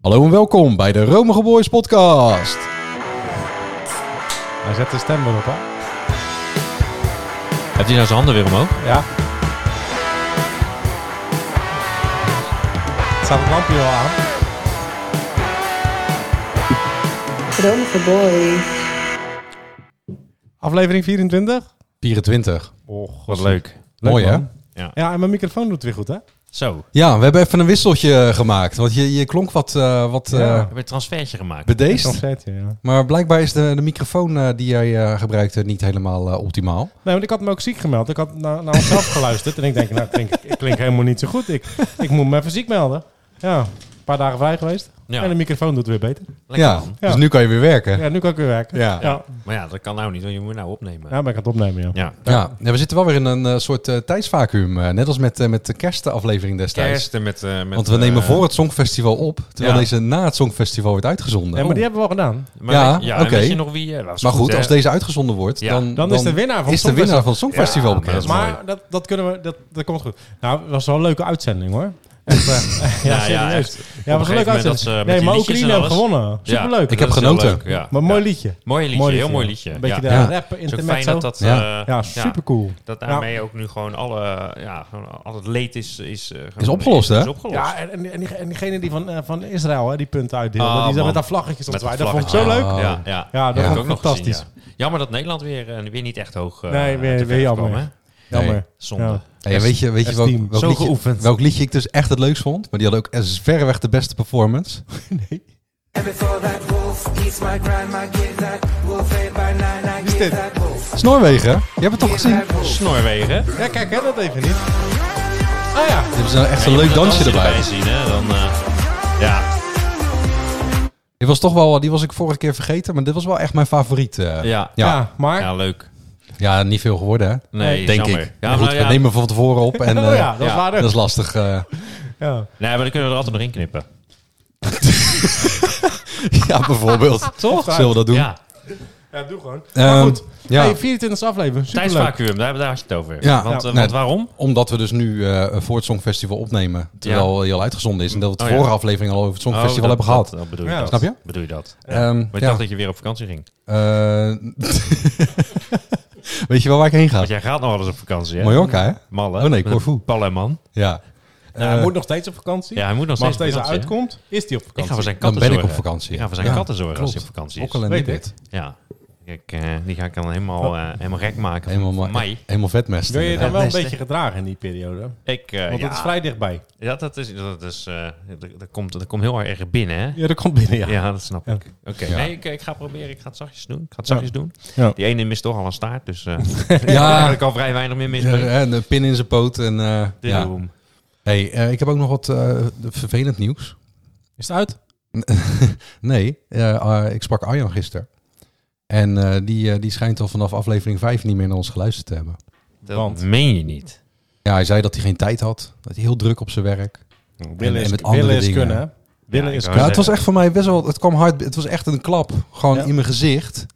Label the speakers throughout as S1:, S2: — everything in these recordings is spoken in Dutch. S1: Hallo en welkom bij de Romige Boys podcast.
S2: Hij zet de stem weer op, hè?
S3: Heeft hij nou zijn handen weer omhoog?
S2: Ja. Staat het lampje al aan?
S4: Romige boys.
S2: Aflevering 24?
S1: 24.
S2: Och,
S3: Wat leuk.
S1: Mooi hè?
S2: man. Ja, en mijn microfoon doet het weer goed, hè?
S3: Zo,
S1: Ja, we hebben even een wisseltje eh, gemaakt. Want je, je klonk wat, eh wat eh,
S2: Ja.
S3: we hebben een transfertje gemaakt.
S1: bedeesd.
S2: Concert, ja. Nee,
S1: Maar blijkbaar is de, de microfoon eh, die jij eh, gebruikte niet helemaal eh, optimaal.
S2: want ik had me ook ziek gemeld. Ik had naar, naar onszelf geluisterd. En ik denk, nou, ik klink, ik klink helemaal niet zo goed. Ik, ik moet me even ziek melden. Ja, een paar dagen vrij geweest.
S3: Ja,
S2: En de microfoon doet het weer beter.
S3: lekker
S1: ja.
S3: man.
S2: Ja.
S1: dus nu kan je weer werken. Ja.
S2: Ja, nu kan ik weer werken.
S1: Ja.
S2: Ja,
S3: Maar ja, dat kan nou niet, want je moet nou opnemen.
S2: Ja, ben ik aan het opnemen, ja.
S3: Ja.
S1: Ja, we zitten wel weer in een eh, soort eh, tijdsvacuum. eh, net als met, eh, met de kerstaflevering destijds.
S3: Kersten met, eh, met...
S1: Want we nemen
S3: eh,
S1: voor het Songfestival op, terwijl
S3: ja.
S1: deze na het Songfestival wordt uitgezonden.
S2: Ja, maar die hebben we al gedaan.
S3: maar
S1: Ja,
S3: weet- ja, en
S1: oké.
S3: weet je nog wie... eh, was
S1: Maar goed,
S3: hè?
S1: als deze uitgezonden wordt,
S3: Ja.
S1: dan,
S2: Dan, is de winnaar van
S1: is de
S2: Songfestival.
S1: winnaar van het Songfestival
S3: Ja, maar
S1: bekend.
S3: dat is
S2: Maar dat, dat kunnen we, dat, dat komt goed. Nou, het was wel een leuke uitzending hoor. Echt, eh, ja,
S3: Ja, ja,
S2: serieus.
S3: echt.
S2: Ja, het
S3: een
S2: was een leuke uitzending.
S3: gegeven moment dat ze met
S2: nee,
S3: die
S2: maar
S3: liedjes
S2: Oekraïne
S3: en
S2: heeft
S3: alles.
S2: gewonnen.
S3: Ja.
S2: Superleuk.
S1: Ik heb
S3: Dat is
S1: genoten.
S3: heel leuk, Ja.
S2: Maar mooi
S3: Ja.
S2: liedje.
S3: Mooi liedje, heel mooi liedje.
S2: Een beetje
S3: ja.
S1: Ja.
S2: daar rappen,
S3: Het is ook
S2: intermezzo.
S3: fijn dat dat...
S1: Ja.
S3: eh,
S2: ja, supercool. Nou,
S3: Dat
S2: Ja.
S3: daarmee ook nu gewoon alle, eh, ja, gewoon al het leed is... Is, eh, gewoon-
S1: Is opgelost, hè?
S3: Is opgelost.
S2: Ja, en, en, die- en diegene die van, eh, van Israël hè, die punten uitdeelde,
S3: Ah,
S2: die zat met
S3: man.
S2: dat vlaggetje stond
S3: Met
S2: erbij.
S3: dat
S2: Dat vond ik zo
S3: vlaggetje.
S2: leuk.
S1: Ah.
S3: Ja, ja.
S2: Ja, dat
S1: Ja.
S2: vond
S3: Ook
S2: ik
S3: nog
S2: fantastisch.
S3: fantastisch. Jammer dat Nederland weer, eh, weer niet echt hoog... eh,
S2: Nee, weer-
S3: te ver
S2: weer
S3: is
S2: jammer.
S3: gekomen, hè?
S2: Jammer.
S3: Ah, Zonde.
S2: Ja.
S1: Hey, weet je, weet je welk,
S2: S-team.
S1: welk
S3: Zo
S1: liedje,
S3: geoefend.
S1: welk liedje ik dus echt het leukst vond? Maar die had ook eh, verreweg de beste performance.
S5: And before that wolf eats my grime, I give that wolf eight by nine. I give
S2: dit?
S5: that wolf.
S1: Dat is Noorwegen. Je hebt het toch
S5: Give
S1: gezien?
S5: that wolf.
S3: Noorwegen.
S2: Ja, kijk hè, dat even niet. Ah ja,
S1: Dit is nou echt een leuk dansje erbij.
S3: zien, hè? Dan, eh, ja.
S1: Die was toch wel, die was ik vorige keer vergeten, maar dit was wel echt mijn favoriet. eh.
S3: Ja.
S2: ja.
S1: Ja.
S2: maar...
S3: ja, leuk.
S1: Ja, niet veel geworden, hè?
S3: Nee,
S1: Denk
S3: jammer.
S1: ik.
S3: Ja,
S1: maar goed,
S3: nou ja.
S1: we nemen hem van tevoren op en
S2: Oh
S1: eh,
S2: ja, dat is
S3: ja.
S2: waar.
S1: dat
S2: ook.
S1: is lastig. eh.
S2: Ja.
S3: Nee, maar dan kunnen we er altijd nog in knippen.
S1: ja, bijvoorbeeld.
S2: Toch?
S1: Zullen we dat doen?
S3: Ja,
S2: Ja, doe gewoon.
S1: Ehm,
S2: Maar goed,
S1: ja.
S2: hey, 24e aflevering. Superleuk.
S3: tijdsvacuum, daar, daar had je het over.
S1: Ja.
S3: Want,
S2: Ja.
S3: eh, want waarom?
S1: Omdat we dus nu eh voor het Songfestival opnemen, terwijl hij al uitgezonden is. En dat we het
S3: Oh, ja.
S1: vorige aflevering al over het
S3: Oh,
S1: Songfestival
S3: dat-
S1: hebben gehad.
S3: Dat, dat bedoel je
S2: Ja.
S3: dat.
S1: Snap je?
S3: Bedoel je dat.
S1: Ehm,
S3: Maar ik
S1: ja.
S3: dacht dat je weer op vakantie ging.
S1: Eh, weet je wel waar ik heen ga?
S3: Want jij gaat nog wel eens op vakantie, hè?
S1: Mallorca, hè?
S3: Malle.
S1: Oh, nee,
S3: Met
S1: Corfu.
S3: Paul en man.
S1: Ja.
S2: Nou, hij moet nog steeds op vakantie.
S3: Eh, Ja, hij moet nog
S2: maar als
S3: steeds op
S2: deze
S3: vakantie, hè?
S2: uitkomt, is hij op
S3: Ik ga
S2: vakantie.
S3: voor zijn
S1: Dan
S3: katten
S1: ben ik op
S3: zorgen.
S1: vakantie.
S3: Ik ga voor zijn
S1: Ja,
S3: katten zorgen als hij
S1: klopt.
S3: op vakantie is.
S1: Okkel en
S2: Weet
S1: Nibbit.
S3: Ja. Ik, eh, die ga ik dan helemaal, eh, helemaal gek maken.
S1: Helemaal,
S3: voor
S1: mooi-
S3: mij.
S1: helemaal vetmest.
S2: Wil je
S1: inderdaad.
S2: dan wel een
S3: best, hè?
S2: beetje gedragen in die periode?
S3: Ik, eh,
S2: Want
S3: ja.
S2: dat is vrij dichtbij.
S3: Ja, dat is... Dat, is, eh, dat, dat komt, dat komt heel erg binnen, hè?
S2: Ja, dat komt binnen, ja.
S3: Ja, dat snap
S2: Ja.
S3: ik. Oké,
S1: Ja.
S3: nee, ik, ik ga proberen. Ik ga het zachtjes doen. Ik ga het zachtjes doen.
S2: Ja.
S3: Die ene mist toch al een staart, dus eh er is
S1: Ja.
S3: eigenlijk al vrij weinig meer mis.
S1: Ja, hè, een pin in zijn poot. En, eh, ja.
S3: Daarom.
S1: hey, eh, ik heb ook nog wat eh, vervelend nieuws.
S2: Is het uit?
S1: Nee, eh, eh, ik sprak Arjan gisteren. En eh, die, eh, die schijnt al vanaf aflevering 5 niet meer naar ons geluisterd te hebben.
S3: Dat
S2: Want-
S3: meen je niet.
S1: Ja, hij zei dat hij geen tijd had. Dat hij heel druk op zijn werk. en
S2: Willen is,
S1: met andere
S2: willen is
S1: dingen.
S2: kunnen, hè? Willen
S3: ik
S1: Ja,
S2: is
S3: wou
S2: kunnen.
S1: het was echt voor mij best wel... Het kwam hard. Het was echt een klap. Gewoon
S2: Ja.
S1: in mijn gezicht.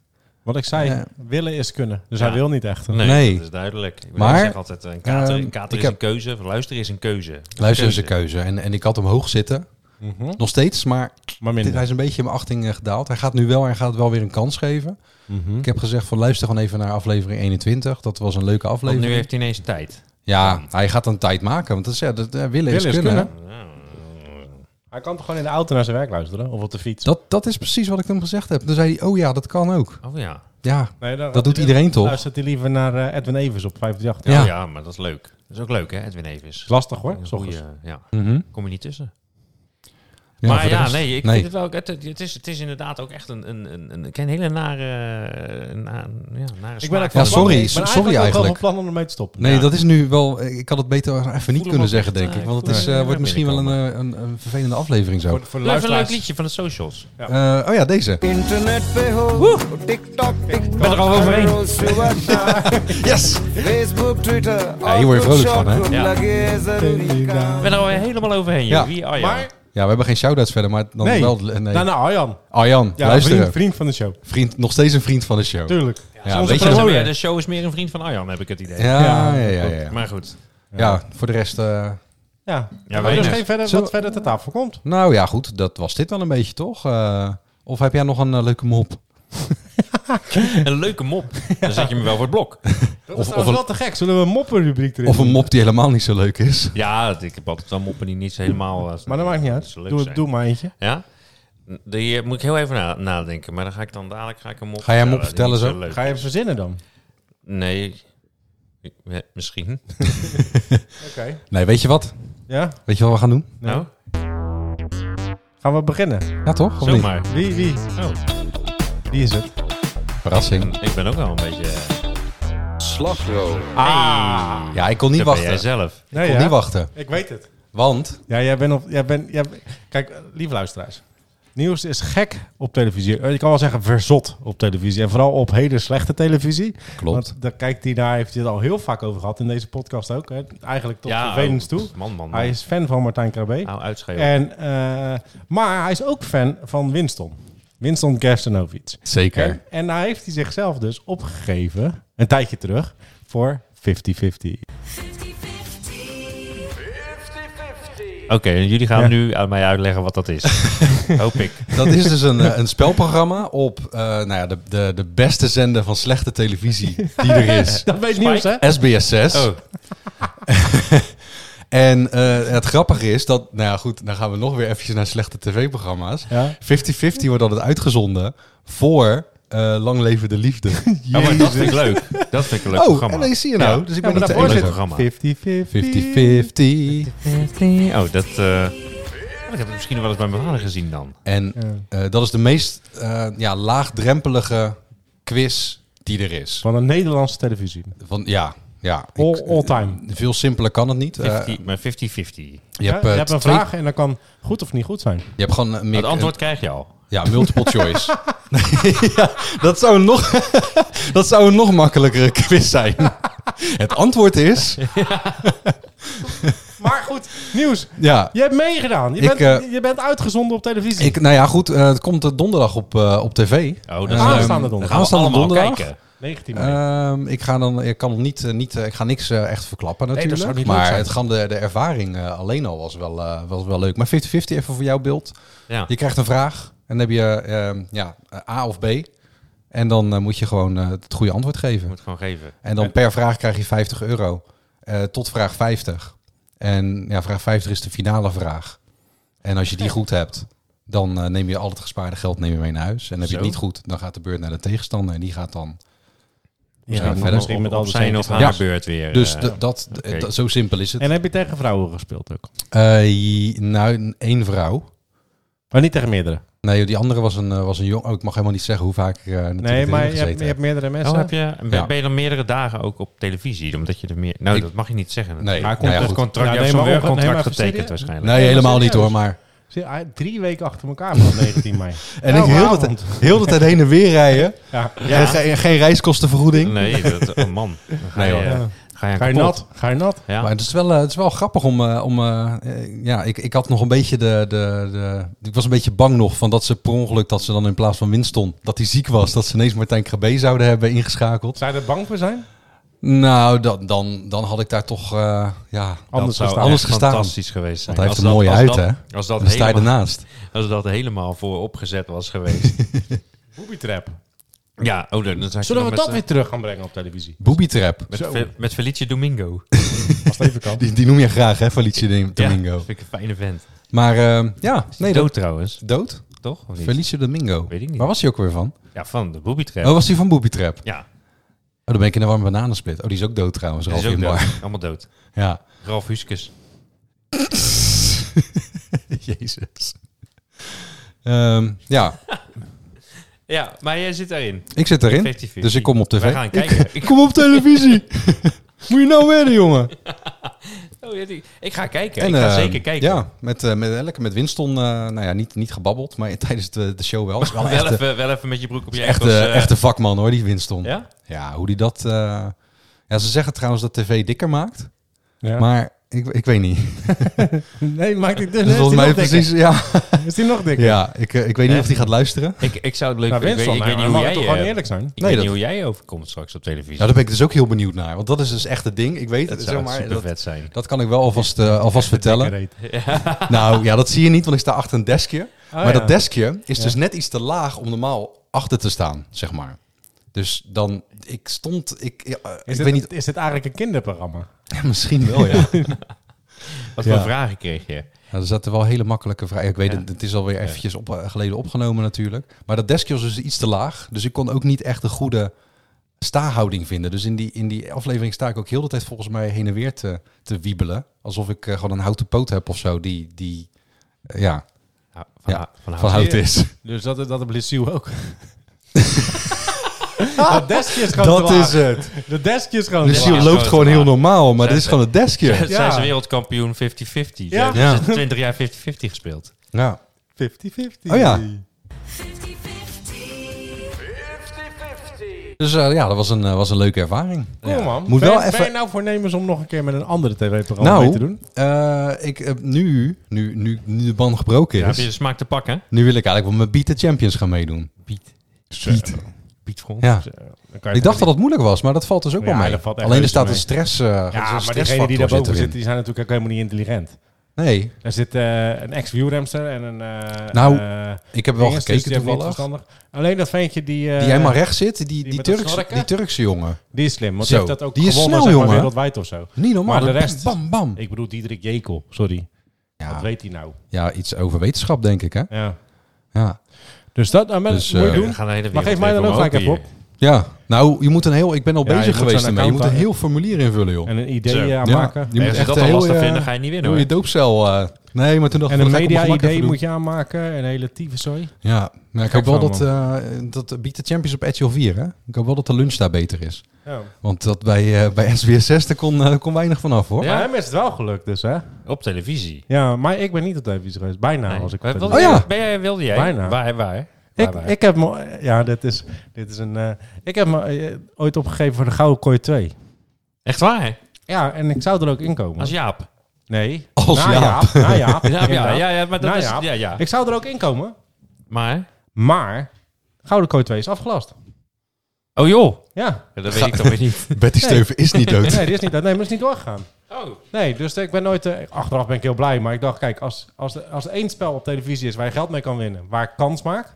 S2: Wat ik zei,
S1: Ja.
S2: willen is kunnen. Dus
S3: Ja.
S2: hij wil niet echt.
S3: Nee,
S1: Nee.
S3: dat is duidelijk. Ik
S1: Maar,
S3: maar, zeg altijd, eh, een kater,
S1: ehm,
S3: een kater
S1: ik
S3: is
S1: heb-
S3: een keuze. of Luisteren is een keuze. Het is
S1: Luister is een
S3: keuze.
S1: keuze. En, en ik had hem hoog zitten.
S2: Mhm.
S1: Nog steeds, maar
S2: Maar
S1: dit, hij
S2: minder.
S1: is een beetje in mijn achting eh, gedaald. Hij gaat nu wel en gaat wel weer een kans geven.
S3: Hm?
S2: Mhm.
S1: Ik heb gezegd van luister gewoon even naar aflevering 21. Dat was een leuke
S3: Want
S1: aflevering.
S3: nu heeft hij ineens tijd.
S1: Ja, hij gaat een tijd maken. Want dat is, ja, dat, eh, willen, is kunnen. hè?
S3: Oh
S2: Hij kan toch gewoon in de auto naar zijn werk luisteren? Of op de fiets?
S1: Dat, dat is precies wat ik hem gezegd heb. Toen zei hij, oh ja, dat kan ook.
S3: Oh ja.
S1: Ja,
S2: Nee, dan-
S1: dat doet
S2: dan
S1: iedereen toch?
S2: Luistert hij liever naar eh, Edwin Evers op 538.
S3: Ja.
S1: Ja.
S3: Oh ja, maar dat is leuk. Dat is ook leuk, hè, Edwin Evers.
S2: Is lastig hoor,
S3: Een
S2: s ochtends.
S3: goeie, ja.
S1: Mhm.
S3: Kom je niet tussen.
S1: Ja,
S3: maar
S1: voor de
S3: ja,
S1: rest-
S3: nee, ik vind het wel. ook- Het, het, is, het is inderdaad ook echt een, een, een, een, ik ken een hele nare, eh, na, ja, nare
S2: Ik ben
S3: smaak
S2: ook
S1: Ja,
S2: van
S3: van-
S2: plan-
S1: sorry,
S2: ik ben
S1: sorry
S2: ook wel
S1: eigenlijk.
S2: van plan om ermee te stoppen.
S1: Nee,
S3: Ja.
S1: dat is nu wel... Ik had het beter even niet
S3: hem
S1: kunnen
S3: op,
S1: zeggen,
S3: ja,
S1: denk ik.
S3: ik
S1: Want
S3: voel
S1: het is,
S3: hem
S1: eh,
S3: weer
S1: wordt misschien wel een, eh, een, een vervelende aflevering zo.
S2: Voor, voor de
S3: Leuk, een leuk
S2: luisteraars.
S3: liedje van de socials.
S1: Eh, oh ja, deze.
S5: Internet behoof, TikTok, TikTok.
S3: ben er al overheen.
S5: Roll Stewart,
S1: Yes!
S5: Facebook, Twitter.
S1: Ja, hier word je vrolijk van, hè?
S3: Ja.
S5: Ja.
S3: Ik ben er alweer helemaal overheen, joh.
S1: Ja.
S3: Wie Arjan?
S2: Maar,
S1: Ja, we hebben geen shout-outs verder, maar dan
S2: nee,
S1: wel... eh, Nee.
S2: daarna Arjan.
S1: Arjan,
S2: Ja,
S1: luisteren.
S2: vriend,
S1: Vriend,
S2: vriend van de show.
S1: nog steeds een vriend van de show.
S2: Tuurlijk.
S1: Ja,
S2: onze
S1: weet je,
S3: Dat is
S2: promotor.
S3: meer- de show is meer een vriend van Arjan, heb ik het idee.
S1: ja, ja,
S2: Ja,
S1: ja, ja, ja.
S3: Maar goed.
S1: Ja, voor de rest... eh,
S2: Ja,
S3: Ja,
S2: maar dus
S3: weinig.
S2: geen verder,
S1: Zullen
S2: wat verder ter tafel komt.
S1: Nou ja, goed, dat was dit wel een beetje, toch? Eh, of heb jij nog een eh, leuke mop?
S3: Een leuke mop. Dan zet je me wel voor het blok.
S2: Dat
S1: Of-
S2: is
S1: of
S2: trouwens
S1: een-
S2: wel te gek. Zullen we een moppenrubriek erin
S1: Of een
S2: doen?
S1: mop die helemaal niet zo leuk is?
S3: Ja, ik heb altijd wel moppen die niet zo helemaal... eh,
S2: Maar dat maakt niet
S3: zo
S2: uit.
S3: leuk
S2: Doe,
S3: zijn.
S2: doe maar eentje.
S3: Ja? De, hier moet ik heel even na- nadenken, maar dan ga ik dan dadelijk ga ik een mop
S1: Ga jij hem
S3: vertellen die
S1: opvertellen
S3: niet
S2: Ga je even verzinnen dan?
S3: leuk- Nee. Ja, misschien.
S2: Oké.
S1: Nee, weet je wat?
S2: Ja?
S1: Weet je wat we gaan doen?
S2: Nee.
S3: Nou,
S2: Gaan we beginnen?
S1: Ja, toch? Of niet?
S3: zomaar.
S2: Wie, wie?
S3: Oh,
S2: Wie is het?
S1: Verrassing.
S3: ik ben ook wel een beetje... eh,
S1: Slagroom.
S3: Ah,
S1: Ja, ik kon niet
S3: dat ben jij
S1: wachten.
S3: zelf.
S1: Ik
S2: Nee,
S1: kon niet wachten.
S2: Ik weet het.
S1: Want,
S2: Ja, jij bent op... Jij bent, jij, kijk, eh, lieve luisteraars. Nieuws is gek op televisie. Eh, Je kan wel zeggen verzot op televisie. En vooral op hele slechte televisie.
S1: klopt.
S2: Want daar kijkt hij naar, heeft hij het al heel vaak over gehad in deze podcast ook. Hè. Eigenlijk tot
S3: Ja,
S2: vervelend
S3: oh,
S2: toe.
S3: Man, man, man.
S2: Hij is fan van Martijn Krabbe.
S3: Nou, uitschreeuwen.
S2: En, eh, maar hij is ook fan van Winston. Winston Gerstenovic.
S1: Zeker.
S2: En, en nou heeft hij zichzelf dus opgegeven, een tijdje terug, voor 50-50.
S6: 50-50.
S1: Eh.
S3: Oké, jullie gaan nu aan mij uitleggen wat dat is. Hoop ik.
S1: Dat is dus een, eh, een spelprogramma op eh, nou ja, de, de, de beste zender van slechte televisie die er is.
S2: Dat weet
S3: Spike?
S2: nieuws, hè?
S1: SBS6.
S3: Oh.
S1: En eh, het grappige is dat, nou ja goed, dan gaan we nog weer eventjes naar slechte tv-programma's. 50-50
S2: Ja.
S1: wordt altijd uitgezonden voor eh Lang Leven de Liefde.
S3: Oh, maar dat vind ik leuk. Dat vind ik een leuk
S1: oh,
S3: programma.
S1: en nee, zie je nou.
S3: Ja.
S1: Dus ik
S2: Ja,
S1: ben
S2: maar
S1: niet de
S2: daarvoor
S3: leuk
S2: zit
S1: enige.
S3: programma.
S1: 50-50.
S2: 50-50.
S3: Oh, dat... eh, ik heb het misschien wel eens bij mijn vader gezien dan.
S1: En eh, dat is de meest eh, ja, laagdrempelige quiz die er is.
S2: Van een Nederlandse televisie.
S1: Van, ja, ja. ik-
S2: All, all time.
S1: veel simpeler kan het niet. Eh,
S3: 50, maar 50-50.
S1: je, hebt,
S2: Ja,
S1: eh,
S2: je hebt een
S1: twee-
S2: vraag en dat kan goed of niet goed zijn.
S1: Je hebt gewoon eh, meer-
S3: Het antwoord krijg je al.
S1: Ja, multiple choice. ja, dat, zou een nog, dat zou een nog makkelijkere quiz zijn. Het antwoord is...
S2: Maar goed, nieuws.
S1: Ja,
S2: Je hebt meegedaan. Je,
S1: Ik,
S2: bent,
S1: eh,
S2: je bent uitgezonden op televisie.
S1: ik, nou ja, goed. eh, het komt eh, donderdag op, eh, op tv.
S3: Oh, dat
S1: Ehm,
S3: is
S2: Aanstaande donderdag.
S3: leuk. Dan gaan we
S1: Aanstaande
S3: allemaal
S1: donderdag.
S3: kijken.
S2: 19 mei.
S1: Ehm, ik ga dan, ik kan nog niet, eh, niet eh, ik ga niks eh, echt verklappen
S2: dat zou
S1: natuurlijk.
S2: niet leuk
S1: maar
S2: zijn.
S1: het gaan de, de ervaring eh, alleen al was wel, eh, was wel leuk. Maar 50-50 even voor jouw beeld.
S3: Ja.
S1: Je krijgt een vraag en dan heb je ehm, ja, A of B. En dan eh, moet je gewoon eh, het goede antwoord
S3: Je
S1: geven.
S3: moet gewoon geven.
S1: En dan per vraag krijg je 50 euro. Eh, tot vraag 50. En ja, vraag 50 is de finale vraag. En als je die goed hebt, dan eh, neem je al het gespaarde geld neem je mee naar huis. En heb je het
S3: Zo.
S1: niet goed, dan gaat de beurt naar de tegenstander. En die gaat dan...
S2: Ja,
S1: verder.
S2: maar misschien
S3: Op-
S2: met
S3: op
S2: al de
S3: zijn of
S2: centjes.
S3: aan
S1: Ja.
S3: de beurt weer.
S1: Dus
S3: eh.
S1: d- dat, d-
S3: oké.
S1: dat- zo simpel is het.
S2: En heb je tegen vrouwen gespeeld ook?
S1: Eh, j- nou, n- één vrouw.
S2: Maar niet tegen meerdere.
S1: Nee, die andere was een, eh, was een jong. Oh, ik mag helemaal niet zeggen hoe vaak ik eh
S2: Nee,
S1: natuurlijk
S2: maar
S1: erin
S2: je hebt,
S1: gezeten
S2: je hebt
S1: heb.
S2: meerdere mensen.
S3: Oh, heb je, ben,
S1: Ja.
S3: ben je dan meerdere dagen ook op televisie? Omdat je er meer... Nou,
S1: Ik-
S3: dat mag je niet zeggen.
S1: Nee,
S3: maar
S1: nou
S3: komt
S1: ja,
S3: het
S1: goed.
S3: contract,
S2: Ja, nee,
S3: je hebt zo'n
S2: maar op-
S3: werkcontract
S2: nee, maar
S3: getekend
S2: serieus?
S3: waarschijnlijk.
S1: Nee, helemaal niet
S2: serieus.
S1: hoor. Maar...
S2: Zie je, hij- Drie weken achter elkaar vanaf 19 mei.
S1: En ik
S2: Elke
S1: heel de,
S2: avond.
S1: tijd- heel de tijd heen en weer rijden.
S2: Nou, Ja.
S1: En ge- geen reiskostenvergoeding.
S3: Nee, dat, oh man. Dan ga
S1: Nee,
S3: je,
S1: hoor.
S3: eh,
S2: Ja.
S3: ga je,
S2: Ga je
S3: kapot.
S2: nat? Ga je nat?
S3: Ja.
S1: Maar het is wel, eh, het is wel grappig om... eh, om eh, eh, ja, ik, ik had nog een beetje de, de, de... Ik was een beetje bang nog van dat ze per ongeluk... dat ze dan in plaats van Winston, dat hij ziek was... dat ze ineens Martijn Krabbe zouden hebben ingeschakeld.
S2: Zou je er bang voor zijn?
S1: Nou, dan, dan, dan had ik daar toch... eh, ja,
S2: Anders
S3: dat zou
S2: gestaan.
S1: Anders
S3: echt
S1: gestaan.
S3: fantastisch geweest zijn.
S1: Want hij heeft
S3: Als
S1: een
S3: dat-
S1: mooie
S3: als
S1: huid,
S3: dat- Als dat,
S1: dan sta je
S3: helemaal,
S1: ernaast.
S3: als dat helemaal voor opgezet was geweest.
S2: Booby trap.
S3: ja, oh, dan dan zou ik
S2: Zullen we
S3: nog
S2: dat
S3: met,
S2: weer terug gaan brengen op televisie?
S1: Booby trap.
S3: eh,
S2: Zo.
S3: Met, Fe- met Felice Domingo.
S2: Als het even kan.
S1: Die, die noem je graag, hè, Felice Dom-
S3: Ja,
S1: Domingo.
S3: dat vind ik een fijne vent.
S1: Maar eh, ja,
S3: Nee,
S1: nee,
S3: dood
S1: dat-
S3: trouwens,
S1: dood.
S3: toch? Of niet?
S1: Felice Domingo.
S3: Weet ik niet.
S1: Waar was hij ook weer van?
S3: Ja, van de booby trap.
S1: Oh, was hij van Booby Trap? Oh,
S3: Ja,
S1: dan ben ik in de warme bananensplit. Oh, die is ook dood trouwens,
S3: dat
S1: Ralf
S3: is ook
S1: Inbar.
S3: dood. Allemaal dood.
S1: Ja.
S3: Ralf Huskes.
S1: Jezus. Ehm, ja,
S3: Ja, maar jij zit daarin.
S1: ik zit erin.
S3: 50-50.
S1: Dus ik kom op tv.
S3: Wij gaan kijken.
S1: Ik kom op televisie. Moet je nou werden, jongen.
S3: Oh, ja, die- ik ga kijken.
S1: En,
S3: ik ga
S1: eh,
S3: zeker kijken.
S1: Ja, met, eh, met, lekker met Winston. eh, nou ja, niet, niet gebabbeld, maar tijdens de, de show wel. eh, Is wel
S3: Wel,
S1: een echte,
S3: even, wel even met je broek op je
S1: echte,
S3: enkels, eh,
S1: echte vakman hoor, die Winston.
S3: Ja?
S1: Ja, hoe die dat... eh, Ja, ze zeggen trouwens dat tv dikker maakt.
S2: Ja.
S1: Maar Ik, ik weet niet.
S2: Nee, maakt het dus.
S1: Dus volgens mij precies. Ja,
S2: Is die nog dikker?
S1: ja ik, eh, ik weet niet of hij gaat luisteren.
S3: Ik, ik zou het leuk
S2: Nou,
S3: vinden. Ik,
S2: Winston,
S3: weet- ik
S2: nou, we
S3: weet niet hoe
S2: mogen
S3: jij,
S2: toch gewoon
S3: eh,
S2: eerlijk zijn?
S3: ik
S1: Nee,
S3: weet
S1: dat-
S3: niet hoe jij overkomt straks op televisie.
S1: Nou, daar ben ik dus ook heel benieuwd naar. Want dat is dus echt het ding. Ik weet
S3: dat
S1: het,
S3: zou
S1: zeg maar.
S3: super
S1: Dat,
S3: vet zijn.
S1: dat kan ik wel alvast, eh, alvast vertellen.
S2: Dikke reet.
S1: Nou ja, dat zie je niet, want ik sta achter een deskje. maar
S2: ja.
S1: dat deskje is
S2: Ja.
S1: dus net iets te laag om normaal achter te staan, zeg maar. Dus dan, ik stond, ik, eh, ik
S2: Is,
S1: weet niet,
S2: dit, is dit eigenlijk een kinderprogramma?
S1: misschien wel ja.
S3: Wat
S1: Ja.
S3: voor vragen kreeg je?
S1: Ja, er zaten wel hele makkelijke vragen. Ik weet
S3: Ja.
S1: het, het is alweer eventjes op, eh, geleden opgenomen natuurlijk. Maar dat deskje was dus iets te laag. Dus ik kon ook niet echt een goede staarhouding vinden. Dus in die, in die aflevering sta ik ook heel de tijd volgens mij heen en weer te, te wiebelen. Alsof ik eh, gewoon een houten poot heb of zo. Die, die eh, ja,
S3: Nou, Van,
S1: Ja,
S3: van,
S1: van hout is.
S2: Dus dat, dat heb Lissieu ook. dat deskje is gewoon
S1: Dat
S2: te laag.
S1: is eh, het.
S2: De deskje is gewoon te
S1: Dus
S3: Luciel
S1: je
S2: laag.
S3: loopt
S1: loopt gewoon
S3: gewoon te
S1: heel
S3: laag.
S1: normaal. Maar
S3: Zij-
S1: dit is gewoon het deskje.
S3: Zijn ze
S2: Ja.
S3: wereldkampioen 50-50. Ze
S2: Ja.
S3: hebben
S1: Ja.
S3: 20 jaar 50-50 gespeeld.
S1: Ja.
S2: 50-50.
S1: Oh ja.
S6: 50-50.
S1: Dus eh, ja, dat was een, eh, was een leuke ervaring.
S2: Cool man.
S1: Moet
S2: ben,
S1: wel
S2: je-
S1: even-
S2: ben je nou voornemens om nog een keer met een andere tv-programma
S1: Nou,
S2: mee te doen?
S1: Eh, ik heb nu, nu, nu, nu de band gebroken is...
S3: Heb je de smaak te pakken?
S1: Nu wil ik eigenlijk wel met Beat the Champions gaan meedoen.
S3: Beat.
S1: Beat.
S3: Piet Grond.
S1: Ja.
S2: Dus, eh, Dan kan je
S1: Ik dacht dat het moeilijk was, maar dat valt dus ook
S2: Ja,
S1: wel mee.
S2: dat valt echt
S1: Alleen er
S2: reuze
S1: staat een
S2: mee.
S1: stress. eh
S2: Ja,
S1: een
S2: maar degenen die daarboven zitten,
S1: erin.
S2: die zijn natuurlijk ook helemaal niet intelligent.
S1: Nee,
S2: Er zit eh, een ex-wielremster en een... eh,
S1: Nou,
S2: eh,
S1: ik heb wel
S2: dinges, dus
S1: gekeken
S2: die hebben
S1: toevallig.
S2: niet verstandig. Alleen dat ventje die... eh,
S1: Die helemaal recht zit, die, die,
S2: met dat
S1: Turkse,
S2: schorken?
S1: die Turkse jongen.
S2: Die is slim, want
S1: Zo,
S2: die heeft dat ook
S1: die is
S2: gewonnen
S1: snel,
S2: zeg maar,
S1: jongen.
S2: wereldwijd of zo.
S1: Niet normaal.
S2: Maar de
S1: dat-
S2: rest-
S1: Bam, bam.
S2: Ik bedoel Diederik Jekel, sorry. Wat
S1: Ja,
S2: weet hij nou?
S1: ja, iets over wetenschap denk ik, hè?
S2: Ja.
S1: Ja.
S2: Dus dat nou, maar
S1: Dus,
S2: moet je
S1: eh,
S2: doen.
S3: We gaan de hele
S2: Maar geef
S3: wereld
S2: mij
S3: weer
S2: dan ook
S3: omhoog
S2: gelijk even op.
S3: hier.
S1: ja. Nou, je moet een heel... Ik ben al
S2: Ja, je
S1: bezig
S2: moet
S1: geweest
S2: zo'n
S1: ermee. Je moet een
S2: account
S1: heel formulier invullen, joh.
S2: En een idee
S3: Zo.
S2: eh, aan
S1: Ja.
S2: maken.
S1: Je moet
S3: Nee, als je
S1: echt
S3: dat
S1: een
S3: al
S1: heel,
S3: lastig
S1: eh,
S3: vinden, ga je niet winnen
S1: Doe
S3: hoor.
S1: je doopcel... eh, nee, maar toen dacht
S2: En
S1: ik...
S2: een
S1: wat ga ik op mijn gemak even
S2: media-idee
S1: doen.
S2: moet je aanmaken. Een hele tyfuszooi.
S1: Ja, maar ik
S2: Gek
S1: hoop wel
S2: van,
S1: dat, eh dat biedt de Champions op RTL 4, hè? Ik hoop wel dat de lunch daar beter is.
S2: Ja.
S1: Want dat bij, eh, bij SBS 6, daar kon, eh, kon weinig vanaf, hoor.
S3: Ja.
S2: Maar hem is het wel gelukt dus, hè?
S3: Op televisie.
S2: Ja, maar ik ben niet op televisie geweest. Bijna
S3: Nee.
S2: Nou, als ik op
S3: Wat-
S2: televisie-
S3: wat-
S1: Oh ja.
S3: Ben jij, wilde jij?
S2: Bijna.
S3: Waar, waar?
S2: Ik,
S3: Waar, waar?
S2: ik heb me, ja, dit is, dit is een, eh, ik heb me eh, ooit opgegeven voor de Gouden Kooi 2.
S3: Echt waar?
S2: Ja, en ik zou er ook in komen.
S3: Als Jaap.
S2: nee.
S1: Als
S2: na
S1: Jaap.
S2: na Jaap,
S3: Ja, ja,
S2: inderdaad.
S3: ja, ja, maar dat
S2: Nou
S3: is
S2: ja.
S3: Ja, ja.
S2: Ik zou er ook in komen,
S3: Maar?
S2: maar Gouden Kooi 2 is afgelast.
S3: Oh joh.
S2: Ja.
S3: Ja, dat weet ik toch weer niet.
S1: Betty Steuven is niet dood.
S2: Nee, die is niet, nee, maar die is niet doorgegaan.
S3: Oh.
S2: Nee, dus ik ben nooit... eh, achteraf ben ik heel blij, maar ik dacht, kijk, als, als, er- als er één spel op televisie is waar je geld mee kan winnen, waar ik kans maak,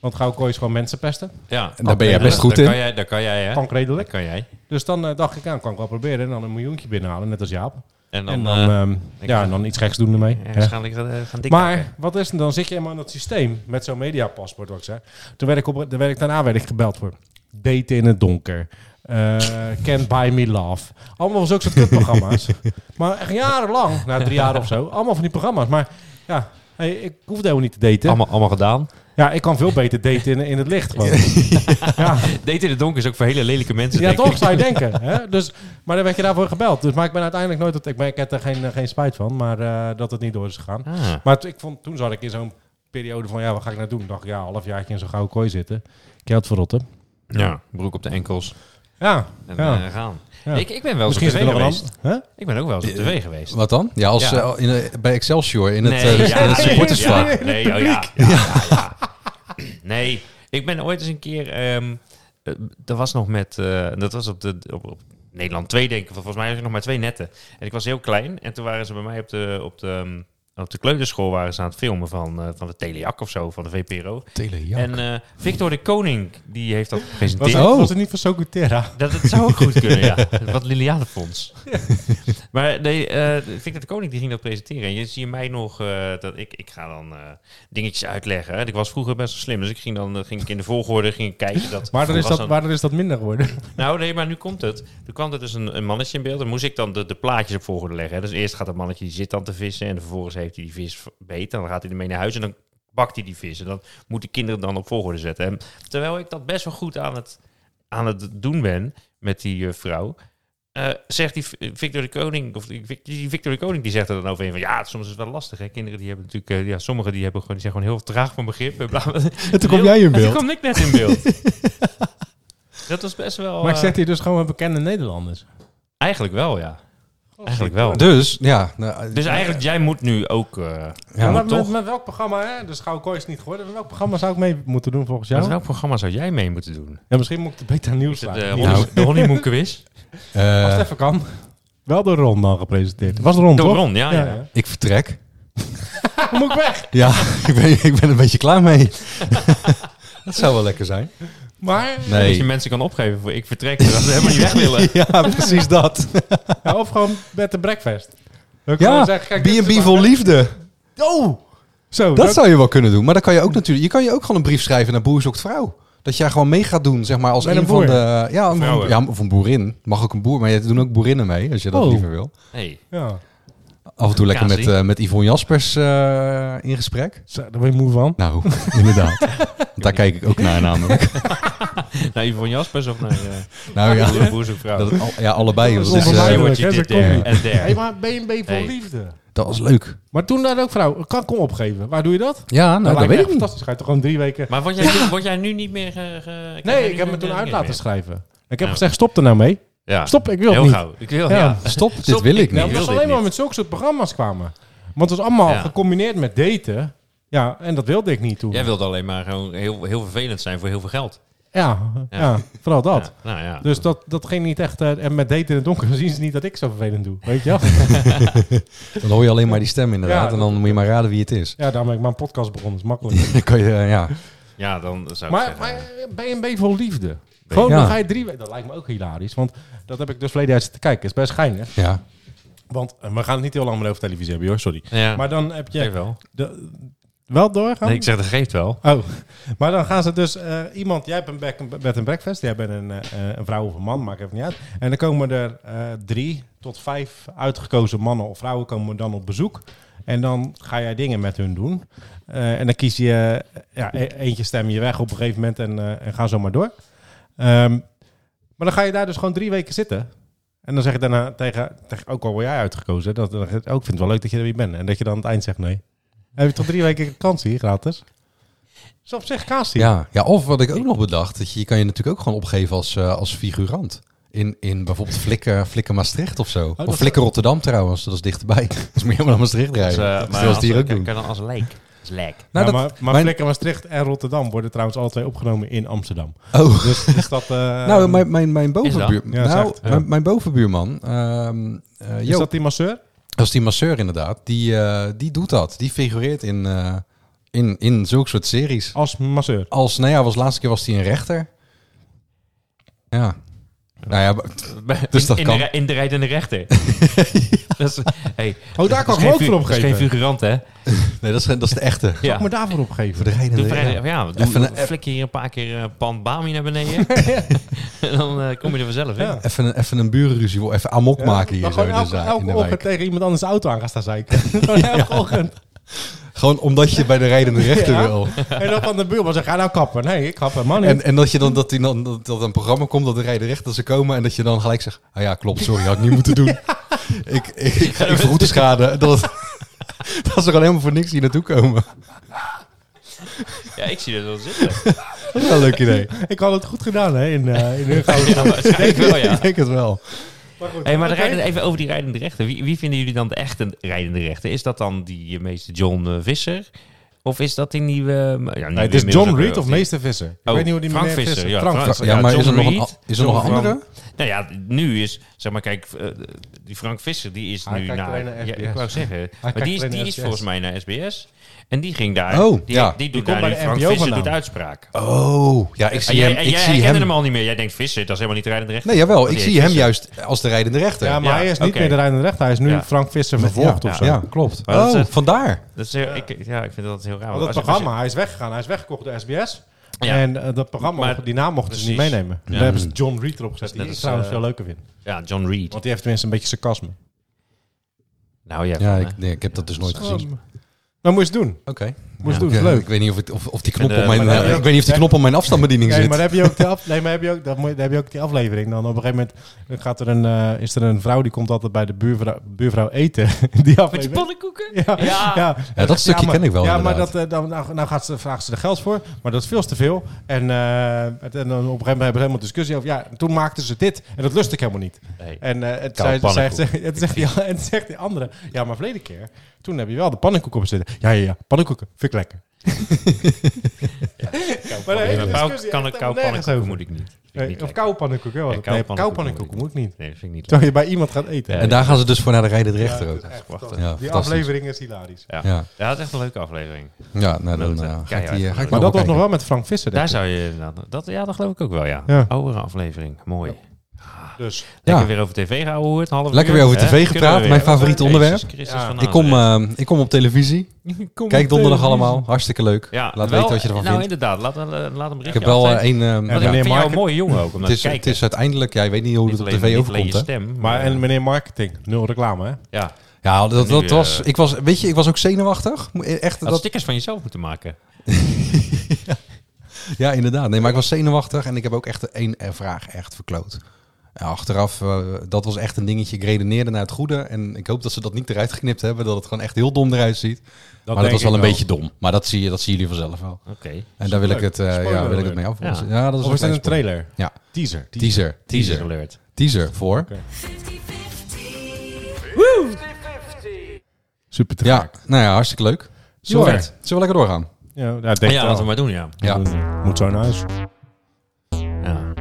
S2: want Gouden Kooi is gewoon mensen pesten,
S3: Ja.
S1: En daar ben jij
S3: Ja,
S1: best
S3: dat-
S1: goed
S3: daar
S1: in.
S3: Kan jij, daar kan jij, hè?
S2: kan ik redelijk.
S3: Dat kan jij.
S2: Dus dan eh, dacht ik, ja, kan ik wel proberen en dan een miljoentje binnenhalen, net als Jaap.
S3: En dan...
S2: En dan,
S3: eh,
S2: ehm,
S3: ik
S2: ja,
S3: ga-
S2: en dan iets geks doen ermee.
S3: ja,
S2: Ja.
S3: waarschijnlijk gaan, eh, gaan dik
S2: Maar wat is het dan? Zit je helemaal in dat systeem met zo'n mediapaspoort, wat ik zei. Toen werd ik, op, toen werd ik daarna werd ik gebeld voor Daten in het donker. eh, can't buy me love. Allemaal zulke soort kutprogramma's. maar echt jarenlang, na drie jaar of zo, allemaal van die programma's. Maar ja, hey, ik hoefde helemaal niet te daten.
S3: Allemaal, allemaal gedaan.
S2: Ja, ik kan veel beter daten in, in het licht gewoon. ja.
S3: Daten in het donker is ook voor hele lelijke mensen.
S2: Ja,
S3: denk ik.
S2: toch zou je denken. Hè? Dus, maar dan werd je daarvoor gebeld. Dus, maar ik ben uiteindelijk nooit... tot- Ik, ben, ik heb er geen, geen spijt van, maar eh, dat het niet door is gegaan.
S3: Ah.
S2: Maar t- ik vond, toen zat ik in zo'n periode van... Ja, wat ga ik nou doen? dacht ik, ja, een halfjaartje in zo'n gouden kooi zitten. Geld verrotten.
S3: Ja, broek op de enkels
S2: Ja,
S3: en
S2: ja.
S3: eh, gaan.
S2: Ja.
S3: Ik, ik ben wel eens op
S2: misschien is
S3: tv
S2: er nog een
S3: geweest.
S2: ander- hè?
S3: Ik ben ook wel eens op
S1: Eh,
S3: tv geweest.
S1: Wat dan? Ja, als,
S3: Ja.
S1: eh, in, eh, bij Excelsior in het, eh, in het
S3: nee,
S1: supportersvak.
S3: ja, nee, oh, ja, ja, ja, ja. Nee, ik ben ooit eens een keer... ehm, eh, dat was nog met... eh, dat was op, de, op, op Nederland 2, denk ik. Want Volgens mij was ik nog maar twee netten. En ik was heel klein. En toen waren ze bij mij op de... Op de ehm, op de kleuterschool waren ze aan het filmen van, eh, van de Telejak of zo, van de VPRO.
S1: Telejak.
S3: En eh, Victor de Koning, die heeft dat
S2: Was,
S3: gepresenteerd.
S2: het,
S1: Oh.
S2: was het niet van Socutera?
S3: Dat, dat zou ook goed kunnen, ja. Wat Lilianefonds. Maar nee, eh, Victor de Koning die ging dat presenteren. En je ziet mij nog, eh, dat ik, ik ga dan eh, dingetjes uitleggen. hè. Ik was vroeger best wel slim, dus ik ging dan eh, ging ik in de volgorde ging ik kijken. Dat
S2: Maar dan is
S3: was
S2: dat,
S3: dan-
S2: maar dan is dat minder geworden.
S3: nou, nee, maar nu komt het. Toen kwam er dus een, een mannetje in beeld. Dan moest ik dan de, de plaatjes op volgorde leggen. hè. Dus eerst gaat dat mannetje, die zit dan te vissen. En vervolgens heeft hij die vis v- beet. En dan gaat hij ermee naar huis en dan bakt hij die vis. En dat moeten kinderen dan op volgorde zetten. En terwijl ik dat best wel goed aan het, aan het doen ben met die eh, vrouw... eh, zegt die V- Victor de Koning, of die Vic- die Victor de Koning, die zegt er dan overheen van ja, soms is het wel lastig. Hè? Kinderen die hebben natuurlijk, eh, ja, sommigen die hebben gewoon, die zijn gewoon heel traag van begrip. En, bla, bla.
S1: En toen kom
S3: Heel-
S1: jij in
S3: en toen
S1: beeld.
S3: kwam ik net in beeld. dat was best wel.
S2: Maar ik
S3: eh,
S2: zet hier dus gewoon met bekende Nederlanders.
S3: Eigenlijk wel, ja. Eigenlijk wel.
S1: Dus, ja. nou,
S3: Dus
S1: eh,
S3: eigenlijk, jij moet nu ook... eh
S1: Ja,
S2: maar
S1: maar
S2: met,
S1: toch.
S2: met welk programma, hè? dus Gouden Kooi is niet geworden. Met welk programma zou ik mee moeten doen volgens
S3: met
S2: jou?
S3: welk programma zou jij mee moeten doen?
S2: Ja, misschien moet ik de beta nieuws
S3: De,
S2: laten.
S3: honey- de honeymoon quiz?
S1: eh,
S2: Als het even kan. Wel door Ron dan gepresenteerd. Was Ron,
S3: Door
S2: toch?
S3: Ron, ja, ja.
S1: ik vertrek.
S2: Dan moet ik weg.
S1: Ja, ik ben, ik ben een beetje klaar mee. dat zou wel lekker zijn.
S2: Maar,
S3: Dat je
S1: Nee.
S3: mensen kan opgeven voor ik vertrek. Dat ze helemaal niet weg willen.
S1: Ja, precies dat.
S2: ja, of gewoon bed and breakfast. Dan kan
S1: Ja,
S2: ik zeggen, kijk, dit is
S1: B&B
S2: waar.
S1: vol liefde.
S2: Oh! Zo,
S1: Dat zou je wel kunnen doen. Maar dan kan je ook natuurlijk... Je kan je ook gewoon een brief schrijven naar Boer zoekt vrouw. Dat jij gewoon mee gaat doen, zeg maar, als
S2: Met
S1: een,
S2: een
S1: van
S2: boer.
S1: de... Ja, een,
S3: Vrouwen.
S1: ja, of een boerin. Mag ook een boer, maar je doen ook boerinnen mee, als je dat
S2: Oh.
S1: liever wil.
S3: Hey,
S2: Ja.
S1: Af en toe lekker met,
S3: Casie.
S1: eh, met Yvonne Jaspers eh, in gesprek.
S2: Zo, daar ben je moe van.
S1: Nou, inderdaad. Want Daar kijk ik ook naar namelijk.
S3: naar Yvonne Jaspers of naar eh
S1: Nou ja,
S3: Boer- Boer zoekt vrouw?
S1: dat, al- ja allebei.
S2: Dat
S1: Dat,
S2: is
S1: is, eh,
S3: Zij
S2: onvermijdelijk.
S3: wordt
S2: hè,
S3: je dit
S2: dat komt
S3: eh,
S2: niet.
S3: en der.
S2: hey, maar B&B voor
S3: Hey.
S2: liefde.
S1: eh, dat was leuk.
S2: Maar toen daar ook vrouw, kan ik hem opgeven. Waar doe je dat?
S1: Ja, nou, dat
S2: lijkt me
S1: weet ik
S2: echt
S1: niet.
S2: Fantastisch, ga je toch gewoon drie weken...
S3: Maar word jij, nu- word jij nu niet meer... eh, ge- krijg jij
S2: Nee,
S3: nu
S2: ik heb me
S3: geen-
S2: toen
S3: geen
S2: uit
S3: meer?
S2: laten schrijven. Ik heb
S3: Ja.
S2: gezegd, stop er nou mee.
S3: Ja.
S2: Stop, ik wil het
S3: Heel
S2: niet.
S3: gauw. Ik wil,
S2: Ja.
S3: ja.
S1: Stop, dit
S3: Stop,
S1: wil ik
S3: ik-
S1: niet.
S2: Nee, het was
S3: wil dit
S2: alleen maar
S3: niet.
S2: met zulke soort programma's kwamen. Want het was allemaal
S3: Ja.
S2: gecombineerd met daten. Ja, en dat wilde ik niet toen.
S3: Jij wilde alleen maar gewoon heel, heel vervelend zijn voor heel veel geld.
S2: Ja, ja.
S3: Ja.
S2: vooral dat.
S3: Ja, nou ja.
S2: Dus dat, dat ging niet echt... eh, en met daten in het donker zien ze niet dat ik zo vervelend doe. Weet je wel?
S1: Dan hoor je alleen maar die stem inderdaad.
S2: Ja,
S1: en dan moet je maar raden wie het is.
S2: ja, daarom ben ik maar een podcast begonnen. Dat is makkelijk.
S1: Dan kan je, eh, ja.
S3: ja, dan zou ik
S2: maar,
S3: zeggen...
S2: maar eh, B&B vol liefde. Gewoon,
S1: Ja.
S2: dan ga je drie weken... Dat lijkt me ook hilarisch. Want dat heb ik dus verleden uit te kijken. is best geinig.
S1: ja.
S2: Want eh, we gaan het niet heel lang meer over televisie hebben, hoor. Sorry.
S3: ja,
S2: Maar Nou- dan heb
S3: geeft
S2: je...
S3: wel.
S2: De, wel doorgaan?
S3: Nee, ik zeg, dat geeft wel.
S2: Oh, maar dan gaan ze dus eh, iemand, jij hebt een back, bed en breakfast, jij bent een, eh, eh, een vrouw of een man, maakt even niet uit. En dan komen er eh, drie tot vijf uitgekozen mannen of vrouwen komen dan op bezoek. En dan ga jij dingen met hun doen. Eh, en dan kies je, eh, ja, e- eentje stem je weg op een gegeven moment en, eh, en ga zo maar door. Ehm, maar dan ga je daar dus gewoon drie weken zitten. En dan zeg je daarna tegen, tegen ook al word jij uitgekozen, dat, dat, ook ik vind het wel leuk dat je er weer bent. En dat je dan aan het eind zegt nee. Dan heb je toch drie weken vakantie gratis? Dat is op zich kaas
S1: Ja. ja, of wat ik ook nog bedacht, dat je, je kan je natuurlijk ook gewoon opgeven als, eh, als figurant. In, in bijvoorbeeld Flikker, Flikker Maastricht of zo.
S2: Oh, dat
S1: of
S2: is-
S1: Flikker Rotterdam trouwens, dat is dichterbij. Dus moet je helemaal naar Maastricht rijden.
S3: eh,
S1: dat zullen ze hier ook
S3: als,
S1: doen.
S3: kan dan als lijk. Als lijk.
S1: Nou,
S2: Ja,
S1: dat-
S2: maar maar
S1: mijn-
S2: Vlekken, Maastricht en Rotterdam worden trouwens alle twee opgenomen in Amsterdam.
S1: Oh.
S2: Dus is dat... eh,
S1: nou, mijn, mijn, mijn,
S3: dat?
S1: bovenbuur,
S2: Ja,
S1: nou,
S2: zegt, ja.
S1: mijn, mijn bovenbuurman, ehm eh,
S2: is
S1: Joop,
S2: dat die masseur?
S1: dat is die masseur inderdaad, die, eh, die doet dat. Die figureert in, eh, in, in zulke soort series.
S2: Als masseur.
S1: Als, nou ja, was laatste keer was hij een rechter. Ja. Nou ja, Dus
S3: in,
S1: dat
S3: in
S1: kan.
S3: De, re- in de rijdende rechter. dat is, hey,
S2: Oh, daar kan ik
S3: dat is
S2: me
S3: geen
S2: ook
S3: fi-
S2: voor
S3: dat is geen
S2: opgeven.
S3: figurant, hè?
S1: nee, dat is, dat is de echte.
S3: Ja.
S2: Moet ik me daarvoor opgeven?
S1: Voor de rijdende-
S3: Doe vrij- ja, doe,
S1: Even een-
S3: flik hier een paar keer eh, pan Bami naar beneden. en dan eh, kom je er vanzelf in.
S2: Ja.
S1: Even een, even een burenruzie, wil even amok maken
S2: Dan
S1: hier zo
S2: gewoon
S1: in de,
S2: elke,
S1: zaak, in
S2: elke
S1: de
S2: ochtend
S1: wijk.
S2: tegen iemand anders de auto aan gaan staan zeiken. Gewoon elke ochtend.
S1: Gewoon omdat je bij de rijdende rechter
S2: Ja.
S1: wil.
S2: En dan van de buurman zegt, ga nou kappen. Nee, ik kap helemaal niet.
S1: En, en dat je dan dat, die dan dat dat een programma komt dat de rijdende rechter ze komen en dat je dan gelijk zegt: ah ja, klopt, sorry, had ik niet moeten doen. Ik, ik, ik ga even route schaden. Dat, dat ze gewoon helemaal voor niks hier naartoe komen.
S3: Ja, ik zie dat wel zitten.
S1: Dat is wel een leuk idee.
S2: ik had het goed gedaan, hè, in, eh in hun gouden
S3: Ja, waarschijnlijk wel, ja.
S1: Ik denk het wel.
S3: Hey, maar de
S2: Oké.
S3: rijdende- even over die rijdende rechter. Wie, wie vinden jullie dan de echte rijdende rechter? Is dat dan die eh, meester John eh, Visser? Of is dat die nieuwe... ja, nieuwe
S2: Nee, het is
S3: inmiddels
S2: John
S3: ook,
S2: Reed
S3: eh,
S2: of Meester Visser. Ik
S3: Oh,
S2: weet niet hoe die
S3: Frank
S2: meneer
S3: Visser, ja,
S2: Frank
S3: Frank-
S2: Visser.
S1: Ja,
S3: Ja,
S1: maar is
S3: John
S1: er nog een,
S3: Reed,
S1: a- is er nog een
S3: John
S1: andere?
S3: Nou ja, nu is, zeg maar, kijk, eh, die Frank Visser, die is
S2: Hij
S3: nu
S2: kijkt
S3: naar.
S2: alleen naar
S3: ja, ik
S2: SBS.
S3: wou zeggen, maar
S2: kijkt
S3: die is,
S2: alleen
S3: die
S2: naar
S3: is
S2: SBS.
S3: volgens mij naar SBS. En die ging daar.
S1: Oh,
S3: die,
S1: ja.
S3: die doet
S2: komt
S3: daar
S2: bij
S3: nu
S2: de
S3: Frank
S2: NPO
S3: Visser
S2: vandaan.
S3: doet uitspraak.
S1: Oh, ja, ik
S3: En
S1: zie
S3: jij,
S1: hem.
S3: en
S1: Ik
S3: jij
S1: zie
S3: herkende
S1: hem.
S3: hem al niet meer. Jij denkt Visser, dat is helemaal niet rijdend recht.
S1: Nee,
S2: Nou,
S1: jawel, ik
S3: Oh, Die
S1: zie
S3: heet
S1: hem
S3: Visser.
S1: juist als de rijdende rechter.
S2: Ja,
S1: Ja,
S2: maar
S3: Ja,
S2: hij is niet
S3: oké.
S2: meer de rijdende rechter. Hij is nu
S3: Ja.
S2: Frank Visser vervolgd of zo.
S1: klopt.
S3: Maar dat is
S1: Oh,
S3: het.
S1: vandaar.
S3: Dat is, heel- ik, ja, ik vind dat heel raar.
S2: Want dat
S3: want als je- als je-
S2: programma, hij is weggegaan. Hij is weggekocht door SBS.
S3: Ja.
S2: En eh, dat programma,
S3: Maar-
S2: die naam mochten ze niet
S3: precies.
S2: meenemen.
S3: Ja.
S2: Daar hebben ze John Reed erop gezet.
S3: Dus net
S2: Die ik
S3: als,
S2: trouwens
S3: eh,
S2: veel leuker vind.
S3: ja, John Reed.
S2: Want die heeft tenminste een beetje sarcasme.
S3: Nou ja,
S1: Ja,
S3: van,
S1: ik,
S3: eh,
S1: nee, ik heb dat dus nooit gezien.
S2: Nou, moet je eens doen.
S1: Oké.
S2: Moest
S1: Ja,
S2: doen, is
S1: ik, eh,
S2: leuk.
S1: Ik weet niet of, het- of, of die knop
S3: En, eh,
S1: op mijn,
S3: maar
S1: eh,
S3: dan-
S1: ik weet niet of die knop op mijn afstandsbediening
S2: Nee,
S1: zit.
S2: maar dan heb je ook, de af, nee, maar heb je ook, dat moet, dan heb je ook die aflevering. Dan op een gegeven moment gaat er een, eh, is er een vrouw die komt altijd bij de buurvrouw, buurvrouw eten. Die
S3: Met die
S2: aflevering.
S3: pannenkoeken?
S2: Ja, ja.
S1: Ja, dat stukje
S2: maar-
S1: ken ik wel,
S2: Ja, maar
S1: inderdaad.
S2: dat, eh, dan, nou, nou gaat ze, vraagt ze er geld voor, maar dat is veel te veel. En, eh, het- en dan op een gegeven moment hebben we helemaal discussie over. Ja, toen maakten ze dit en dat lust ik helemaal niet.
S3: Nee.
S2: En eh, het
S3: Koude
S2: zei- zei-
S3: pannenkoek.
S2: zei- het zegt die- het zegt die andere, ja, maar verleden keer, toen heb je wel de pannenkoek op zitten. Ja, ja, ja, pannenkoeken, vind ik lekker. Maar de hele
S3: Ja, maar
S2: discussie
S3: kan
S2: echt helemaal nergens
S3: een koude pannenkoeken
S2: over.
S3: moet ik niet. Vind ik
S2: Nee,
S3: niet
S2: of
S3: lekker.
S2: koude pannenkoeken, wel.
S3: Nee,
S2: Nee,
S3: koude
S2: koude
S3: pannenkoeken
S2: pannenkoeken moet ik
S3: moet
S2: niet.
S3: Nee, dat vind ik niet
S2: Terwijl je bij iemand gaat eten.
S1: En daar gaan ze dus voor naar de rijdende rechter ook.
S2: Echt
S3: Wacht,
S2: fantastisch.
S1: ja,
S2: die
S1: fantastisch.
S2: aflevering is hilarisch.
S3: lekker. Ja.
S1: Ja,
S3: ja, dat is echt een leuke aflevering.
S1: ja nou, dan
S3: Leuk,
S1: eh,
S3: hè?
S1: ga ik
S3: Keihard.
S1: die, eh, ga ik
S2: Maar dat was nog
S1: bekijken.
S2: wel met Frank Visser.
S3: Daar
S2: denk ik.
S3: zou je inderdaad- dat, ja, dat geloof ik ook wel, ja.
S2: Ja.
S3: Oude aflevering, mooi.
S2: Dus
S3: Lekker
S1: Ja.
S3: weer over tv gehouden, half
S1: Lekker
S3: uur,
S1: weer over
S3: hè?
S1: tv
S3: Kunnen we
S1: gepraat,
S3: weer.
S1: mijn favoriete
S3: Jezus
S1: onderwerp.
S3: Christus
S2: Ja.
S3: van
S1: Ik kom,
S3: Nazareth.
S1: eh, ik kom op televisie. Kijk donderdag allemaal. Hartstikke leuk.
S3: ja,
S1: Laat
S3: wel-
S1: weten wat je ervan
S3: Nou,
S1: vindt.
S3: inderdaad, laat, een- eh, laat een
S1: Ik
S3: berichtje
S1: heb wel eh,
S3: achter.
S1: één... eh,
S3: Want
S1: ja,
S3: ik vind jou
S2: Mark-
S3: een mooie jongen ook, om naar
S1: het,
S3: te
S1: is,
S3: kijken.
S1: het is uiteindelijk... Ja, ik weet niet hoe
S3: Niet
S1: het op
S3: alleen-
S1: tv
S3: niet
S1: overkomt,
S3: alleen
S1: hè.
S3: je stem.
S2: Maar en meneer marketing, nul reclame, hè?
S3: Ja,
S1: Ja, dat,
S3: Nu,
S1: dat
S3: eh,
S1: was... Ik was... Weet je, ik was ook zenuwachtig. Mo- eh, Echt,
S3: dat
S1: dat,
S3: stickers van jezelf moeten maken.
S1: ja, inderdaad. Nee, maar ik was zenuwachtig en ik heb ook echt één eh, vraag echt verkloot. Ja, achteraf, eh, dat was echt een dingetje. Ik redeneerde naar het goede. En ik hoop dat ze dat niet eruit geknipt hebben. Dat het gewoon echt heel dom eruit ziet.
S2: Dat
S1: maar dat
S2: denk
S1: was wel
S2: ik
S1: een beetje dom. Maar dat, zie je, dat zien jullie vanzelf wel.
S3: Oké.
S1: En daar wil ik het, eh, ja,
S2: Spoiler
S1: wil ik het
S2: alert.
S1: mee af. Ja.
S3: Ja.
S1: dat is
S2: Of is
S1: een
S2: dit een trailer?
S1: Ja.
S2: Teaser.
S1: Teaser.
S3: Teaser
S1: Teaser.
S3: alert.
S1: Teaser voor.
S2: Super te
S1: Ja, nou ja, hartstikke leuk. Zullen we,
S2: Joh.
S1: zullen we lekker doorgaan?
S2: Ja, ja,
S3: Ja,
S2: denk
S3: laten we maar doen, ja.
S1: Ja.
S2: Ah. Moet zo naar huis.
S3: ja.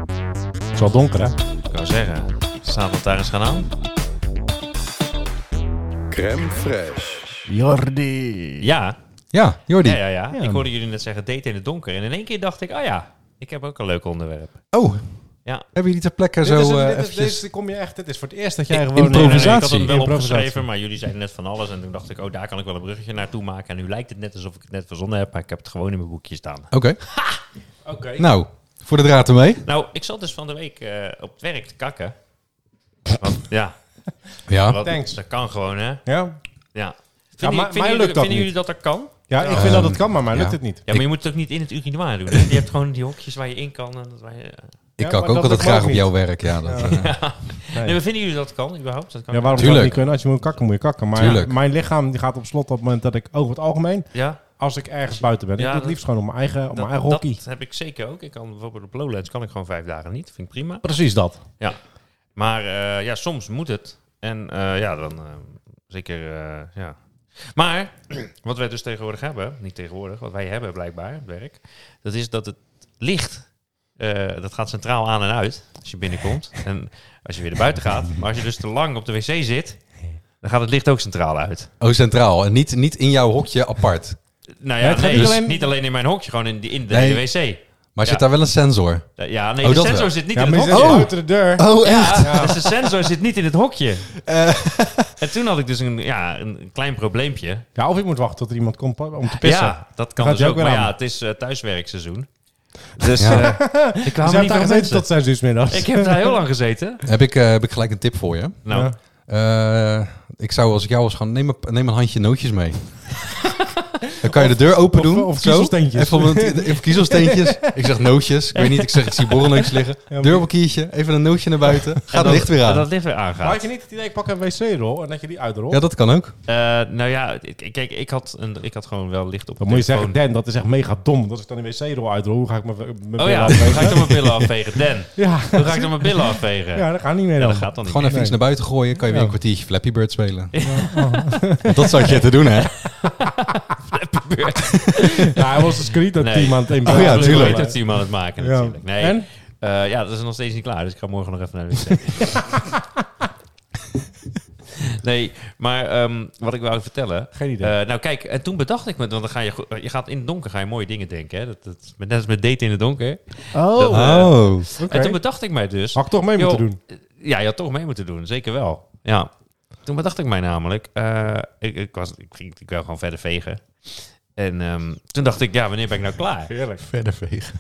S2: Het is wel donker, hè?
S3: Ik kan zeggen, staat dat daar eens gaan aan?
S6: Crème fraîche.
S2: Jordi.
S3: Ja.
S1: Ja, Jordi.
S3: Ja, ja, ja.
S2: Ja.
S3: Ik hoorde jullie net zeggen, daten in het donker. En in één keer dacht ik, oh ja, ik heb ook een leuk onderwerp.
S1: Oh,
S3: Ja.
S1: hebben jullie ter plekke
S2: Dit
S1: zo
S2: is, een-
S1: eh,
S2: dit is-
S1: eventjes...
S2: deze kom je echt... Dit is voor het eerst dat jij gewoon... eh,
S1: improvisatie.
S3: Nee, nee, nee, ik had hem wel
S2: Improvisatie.
S3: opgeschreven, maar jullie zeiden net van alles. En toen dacht ik, oh, daar kan ik wel een bruggetje naartoe maken. En nu lijkt het net alsof ik het net verzonnen heb, maar ik heb het gewoon in mijn boekje staan.
S1: Oké,
S3: Oké.
S1: nou, voor de draad ermee.
S3: Nou, ik zat dus van de week eh, op het werk te kakken. Want, ja,
S1: Ja.
S3: wat,
S2: Thanks.
S3: dat kan gewoon, hè?
S2: Ja,
S3: Ja. Vinden,
S2: mij-
S3: jullie-
S2: mij lukt
S3: vinden, jullie,
S2: dat
S3: vinden
S2: niet.
S3: jullie dat dat kan?
S2: Ehm, ja ik vind dat het kan, maar mij lukt
S1: ja.
S2: het niet.
S3: Ja, maar je moet het ook niet in het urinoir doen. Hè? Je hebt gewoon die hokjes waar je in kan. En dat waar je,
S1: Ik
S2: Ja,
S1: kak
S2: maar
S1: ook altijd
S2: dat lukt
S1: graag
S2: ook
S1: op
S2: niet.
S1: jouw werk. Ja, dat, eh,
S2: Nee.
S3: Nee, maar vinden jullie dat kan, überhaupt? Dat kan
S2: Ja, waarom zou
S1: Tuurlijk.
S2: het niet kunnen? Als je moet kakken, moet je kakken. Maar
S1: Tuurlijk.
S2: ja, mijn lichaam die gaat op slot op het moment dat ik over het algemeen...
S3: Ja,
S2: Als ik ergens buiten ben. Ik
S3: Ja,
S2: doe het
S3: dat-
S2: liefst gewoon op mijn eigen, op mijn
S3: dat,
S2: eigen Oh, hockey.
S3: dat heb ik zeker ook. Ik kan bijvoorbeeld op Lowlands kan ik gewoon vijf dagen niet. Vind ik prima.
S2: Precies dat.
S3: Ja, maar eh, ja, soms moet het. En eh, ja, dan eh, zeker, eh, ja. Maar wat wij dus tegenwoordig hebben, niet tegenwoordig, wat wij hebben blijkbaar, het werk, dat is dat het licht, eh, dat gaat centraal aan en uit als je binnenkomt en als je weer naar buiten gaat. Maar als je dus te lang op de wc zit, dan gaat het licht ook centraal uit.
S1: oh, centraal. En niet, niet in jouw hokje apart.
S3: Nou
S2: Nee,
S3: ja,
S2: het gaat
S3: nee,
S2: niet
S3: dus
S2: alleen-
S3: niet alleen in mijn hokje, gewoon in, die- in de,
S1: Nee.
S3: de wc.
S1: Maar zit
S3: Ja.
S1: daar wel een sensor?
S3: Ja, nee,
S1: Oh,
S3: de
S1: dat
S3: sensor
S1: wel.
S3: zit niet
S2: Ja,
S3: in
S2: maar
S3: het
S2: je
S3: hokje.
S2: zit buiten de deur.
S1: Oh, echt?
S3: Ja, dus de sensor zit niet in het hokje.
S2: Eh.
S3: En toen had ik dus een, ja, een klein probleempje.
S2: Ja, of je moet wachten tot er iemand komt om te pissen.
S3: Ja, dat kan
S2: gaat
S3: dus
S2: hij
S3: ook.
S2: ook weer
S3: Maar
S2: aan.
S3: ja, het is eh, thuiswerkseizoen. Dus
S1: Ja.
S3: eh, ik
S2: Ze
S3: kwam
S2: hebben
S3: niet
S2: daar
S3: veel
S2: gezeten
S3: mensen.
S2: tot zes uur 's middags.
S3: Ik heb daar heel lang gezeten.
S1: Heb ik, eh, heb ik gelijk een tip voor je.
S3: Nou,
S2: Ja.
S1: Eh, ik zou als ik jou was gaan, neem een, neem een handje nootjes mee. Dan kan je de deur open
S2: of-
S1: doen.
S2: of
S1: zo.
S2: kiezelsteentjes.
S1: Even, op een- even kiezelsteentjes. Ik zeg nootjes. Ik weet niet, ik zeg ik zie borrelnootjes liggen.
S2: maar-
S1: Deurbalkiertje, even een nootje naar buiten. Gaat het licht weer
S3: dat
S1: aan.
S3: het licht weer
S2: Maar
S3: aangaat.
S2: had je niet het idee, ik pak een wc-rol en dat je die uitrolt?
S1: Ja, dat kan ook.
S3: Eh, nou ja, ik- kijk, ik had, een, ik had gewoon wel licht op.
S2: dan
S3: mijn
S2: moet je
S3: telefoon.
S2: zeggen, Dan, dat is echt mega dom. Want als ik dan een wc-rol uitrol, hoe ga ik mijn mijn billen
S3: Oh ja,
S2: afvegen?
S3: hoe ga ik dan mijn billen afvegen? Dan,
S2: Ja,
S3: hoe ga ik dan mijn billen afvegen?
S2: ja,
S3: Ja,
S2: dat gaat niet meer dan.
S3: dat gaat dan niet.
S1: Gewoon even
S2: Nee.
S1: iets naar buiten gooien. Kan je weer
S2: Ja.
S1: een kwartiertje Flappy Bird spelen. Want dat zat je te doen, hè?
S2: Ja, hij was een screenteam
S3: Nee.
S2: aan het
S1: Oh ja,
S3: Dat is
S1: tuurlijk.
S3: een team aan het maken
S2: Ja.
S3: natuurlijk. Nee.
S2: En?
S3: Eh, ja, dat is nog steeds niet klaar, dus ik ga morgen nog even naar de wc. nee, maar ehm, wat ik wou vertellen.
S2: Geen idee.
S3: Eh, nou kijk, en toen bedacht ik me, want dan ga je, go- je gaat in het donker ga je mooie dingen denken. Hè? Dat, dat, net als met daten in het donker.
S2: Oh,
S3: eh,
S1: Oh.
S2: oké.
S3: En toen bedacht ik mij dus...
S2: Had ik toch mee
S3: joh, eh,
S2: moeten doen.
S3: Ja, je had toch mee moeten doen, zeker wel. Ja. Toen bedacht ik mij namelijk, eh, ik, ik, was, ik, ging, ik wil gewoon verder vegen. En ehm, toen dacht ik, ja, wanneer ben ik nou klaar?
S2: Heerlijk.
S1: Verder vegen.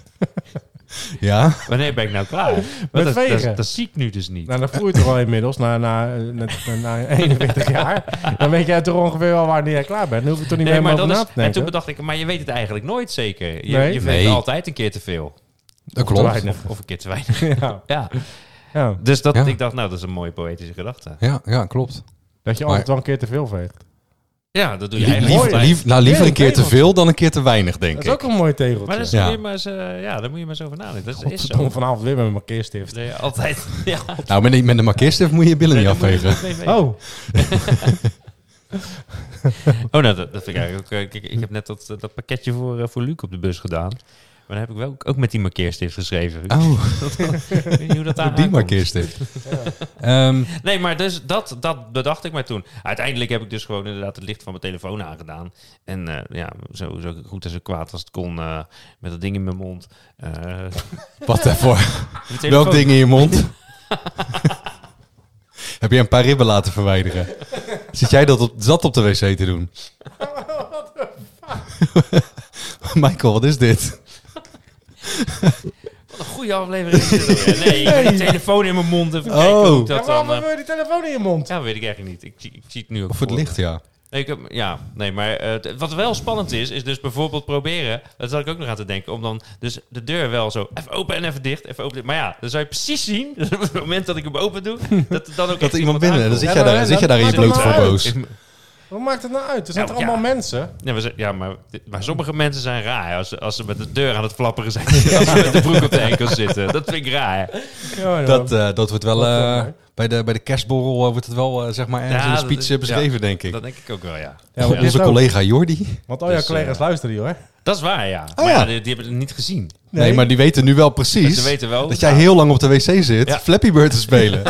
S1: Ja,
S3: Wanneer ben ik nou klaar? Want dat, dat,
S2: vegen.
S3: dat zie ik nu dus niet.
S2: Nou, dan voel je het er al inmiddels, na, na, eh, na, na, na 41 jaar. Dan weet jij toch ongeveer wel wanneer jij klaar bent. Dan hoef je toch niet
S3: Nee,
S2: meer
S3: maar
S2: over
S3: dat
S2: na
S3: is,
S2: te
S3: en toen
S2: denken.
S3: bedacht ik, maar je weet het eigenlijk nooit zeker. Je,
S2: Nee.
S3: je vindt
S1: Nee.
S3: altijd een keer te veel.
S1: dat
S2: te
S1: klopt.
S2: weinig.
S3: Of, of een keer te weinig.
S2: Ja,
S3: Ja.
S2: ja.
S3: Dus dat,
S1: Ja.
S3: ik dacht, nou, dat is een mooie poëtische gedachte.
S1: Ja, ja klopt.
S2: Dat je
S1: Maar-
S2: altijd wel een keer te veel veegt.
S3: Ja, dat doe je
S1: Lie-
S3: eigenlijk
S1: lief-
S3: altijd.
S1: lief- nou, liever
S2: Ja,
S1: een keer te
S2: tegels.
S1: veel dan een keer te weinig,
S2: Dat
S1: denk
S2: is ook
S1: ik.
S2: een mooi tegeltje.
S3: Maar dat is,
S1: Ja.
S3: moet je maar eens, eh, ja, daar moet je maar eens over nadenken. Dat is
S2: Ik kom
S3: zo.
S2: vanavond weer met mijn keerstift.
S3: Nee, altijd. Ja.
S1: Nou, met, die- met de markeerstift moet je je billen niet
S3: Nee, dat moet je
S1: afvegen.
S3: goed mee weten.
S2: Oh,
S3: Oh, nou, dat, dat vind ik eigenlijk ook... eh, Kijk, ik heb net dat, eh, dat pakketje voor, eh, voor Luc op de bus gedaan. Maar dan heb ik wel ook met die markeerstift geschreven.
S1: Oh,
S3: Ik weet niet hoe dat daar
S1: die markeerstift. Ehm,
S3: Nee, maar dus dat, dat bedacht ik maar toen. Uiteindelijk heb ik dus gewoon inderdaad het licht van mijn telefoon aangedaan. En eh, ja, zo, zo goed en zo kwaad als het kon, eh, met dat ding in mijn mond. Eh, mijn
S1: wat daarvoor?
S3: telefoon-
S1: Welk ding in je mond? Heb je een paar ribben laten verwijderen? Zit jij dat op, zat op de wc te doen? Michael, wat is dit?
S3: Wat een goede aflevering. is dit alweer. Nee, ik heb die telefoon in mijn mond. Even kijken
S1: Oh.
S3: hoe ik dat
S2: ja, waarom
S3: dan... eh,
S2: hebben we die telefoon in je mond?
S3: ja, weet ik eigenlijk niet. Ik, zie- ik zie het nu ook
S1: Of het
S3: voor me.
S1: licht, ja.
S3: Nee, ik heb, ja, nee, maar eh, t- wat wel spannend is, is dus bijvoorbeeld proberen, dat zat ik ook nog aan te denken, om dan dus de deur wel zo even open en even dicht, even open. dicht. Maar ja, dan zou je precies zien, dus op het moment dat ik hem open doe, dat er dan ook
S1: Dat
S3: echt
S1: er iemand binnen, dan
S3: aankomt.
S1: zit
S2: Ja,
S1: jij
S2: dan-
S1: daar, zit jij
S2: dan-
S1: daar in je
S2: dan-
S1: bloot voor
S2: dan-
S1: boos.
S3: Ik-
S2: Hoe maakt het nou uit? Er zijn
S3: Nou,
S2: toch allemaal
S3: ja.
S2: mensen?
S3: Ja, maar, ze- ja maar, maar sommige mensen zijn raar als, ze- als ze met de deur aan het flapperen zijn. als ze met de broek op de enkel zitten. Dat vind ik raar.
S2: Ja, ja.
S1: Dat, eh, dat wordt wel... eh,
S2: Dat, eh,
S1: bij, de, bij de kerstborrel eh, wordt het wel eh, zeg maar ergens
S3: Ja,
S1: in de
S3: dat-
S1: speech eh,
S3: ja.
S1: beschreven, denk ik. Nou,
S3: Dat denk ik ook wel, ja.
S2: Ja, maar dit
S1: eh, Onze
S2: ook.
S1: collega Jordi.
S2: Want al jouw
S3: Dus,
S2: collega's
S3: eh,
S2: luisteren hier, hoor.
S3: Dat is waar, ja.
S1: Oh,
S3: maar ja,
S1: ja.
S3: die, die hebben het niet gezien.
S1: Nee. maar die weten nu wel precies
S3: Ze weten wel.
S1: dat jij heel lang op de wc zit
S3: Ja.
S1: Flappy Bird te spelen.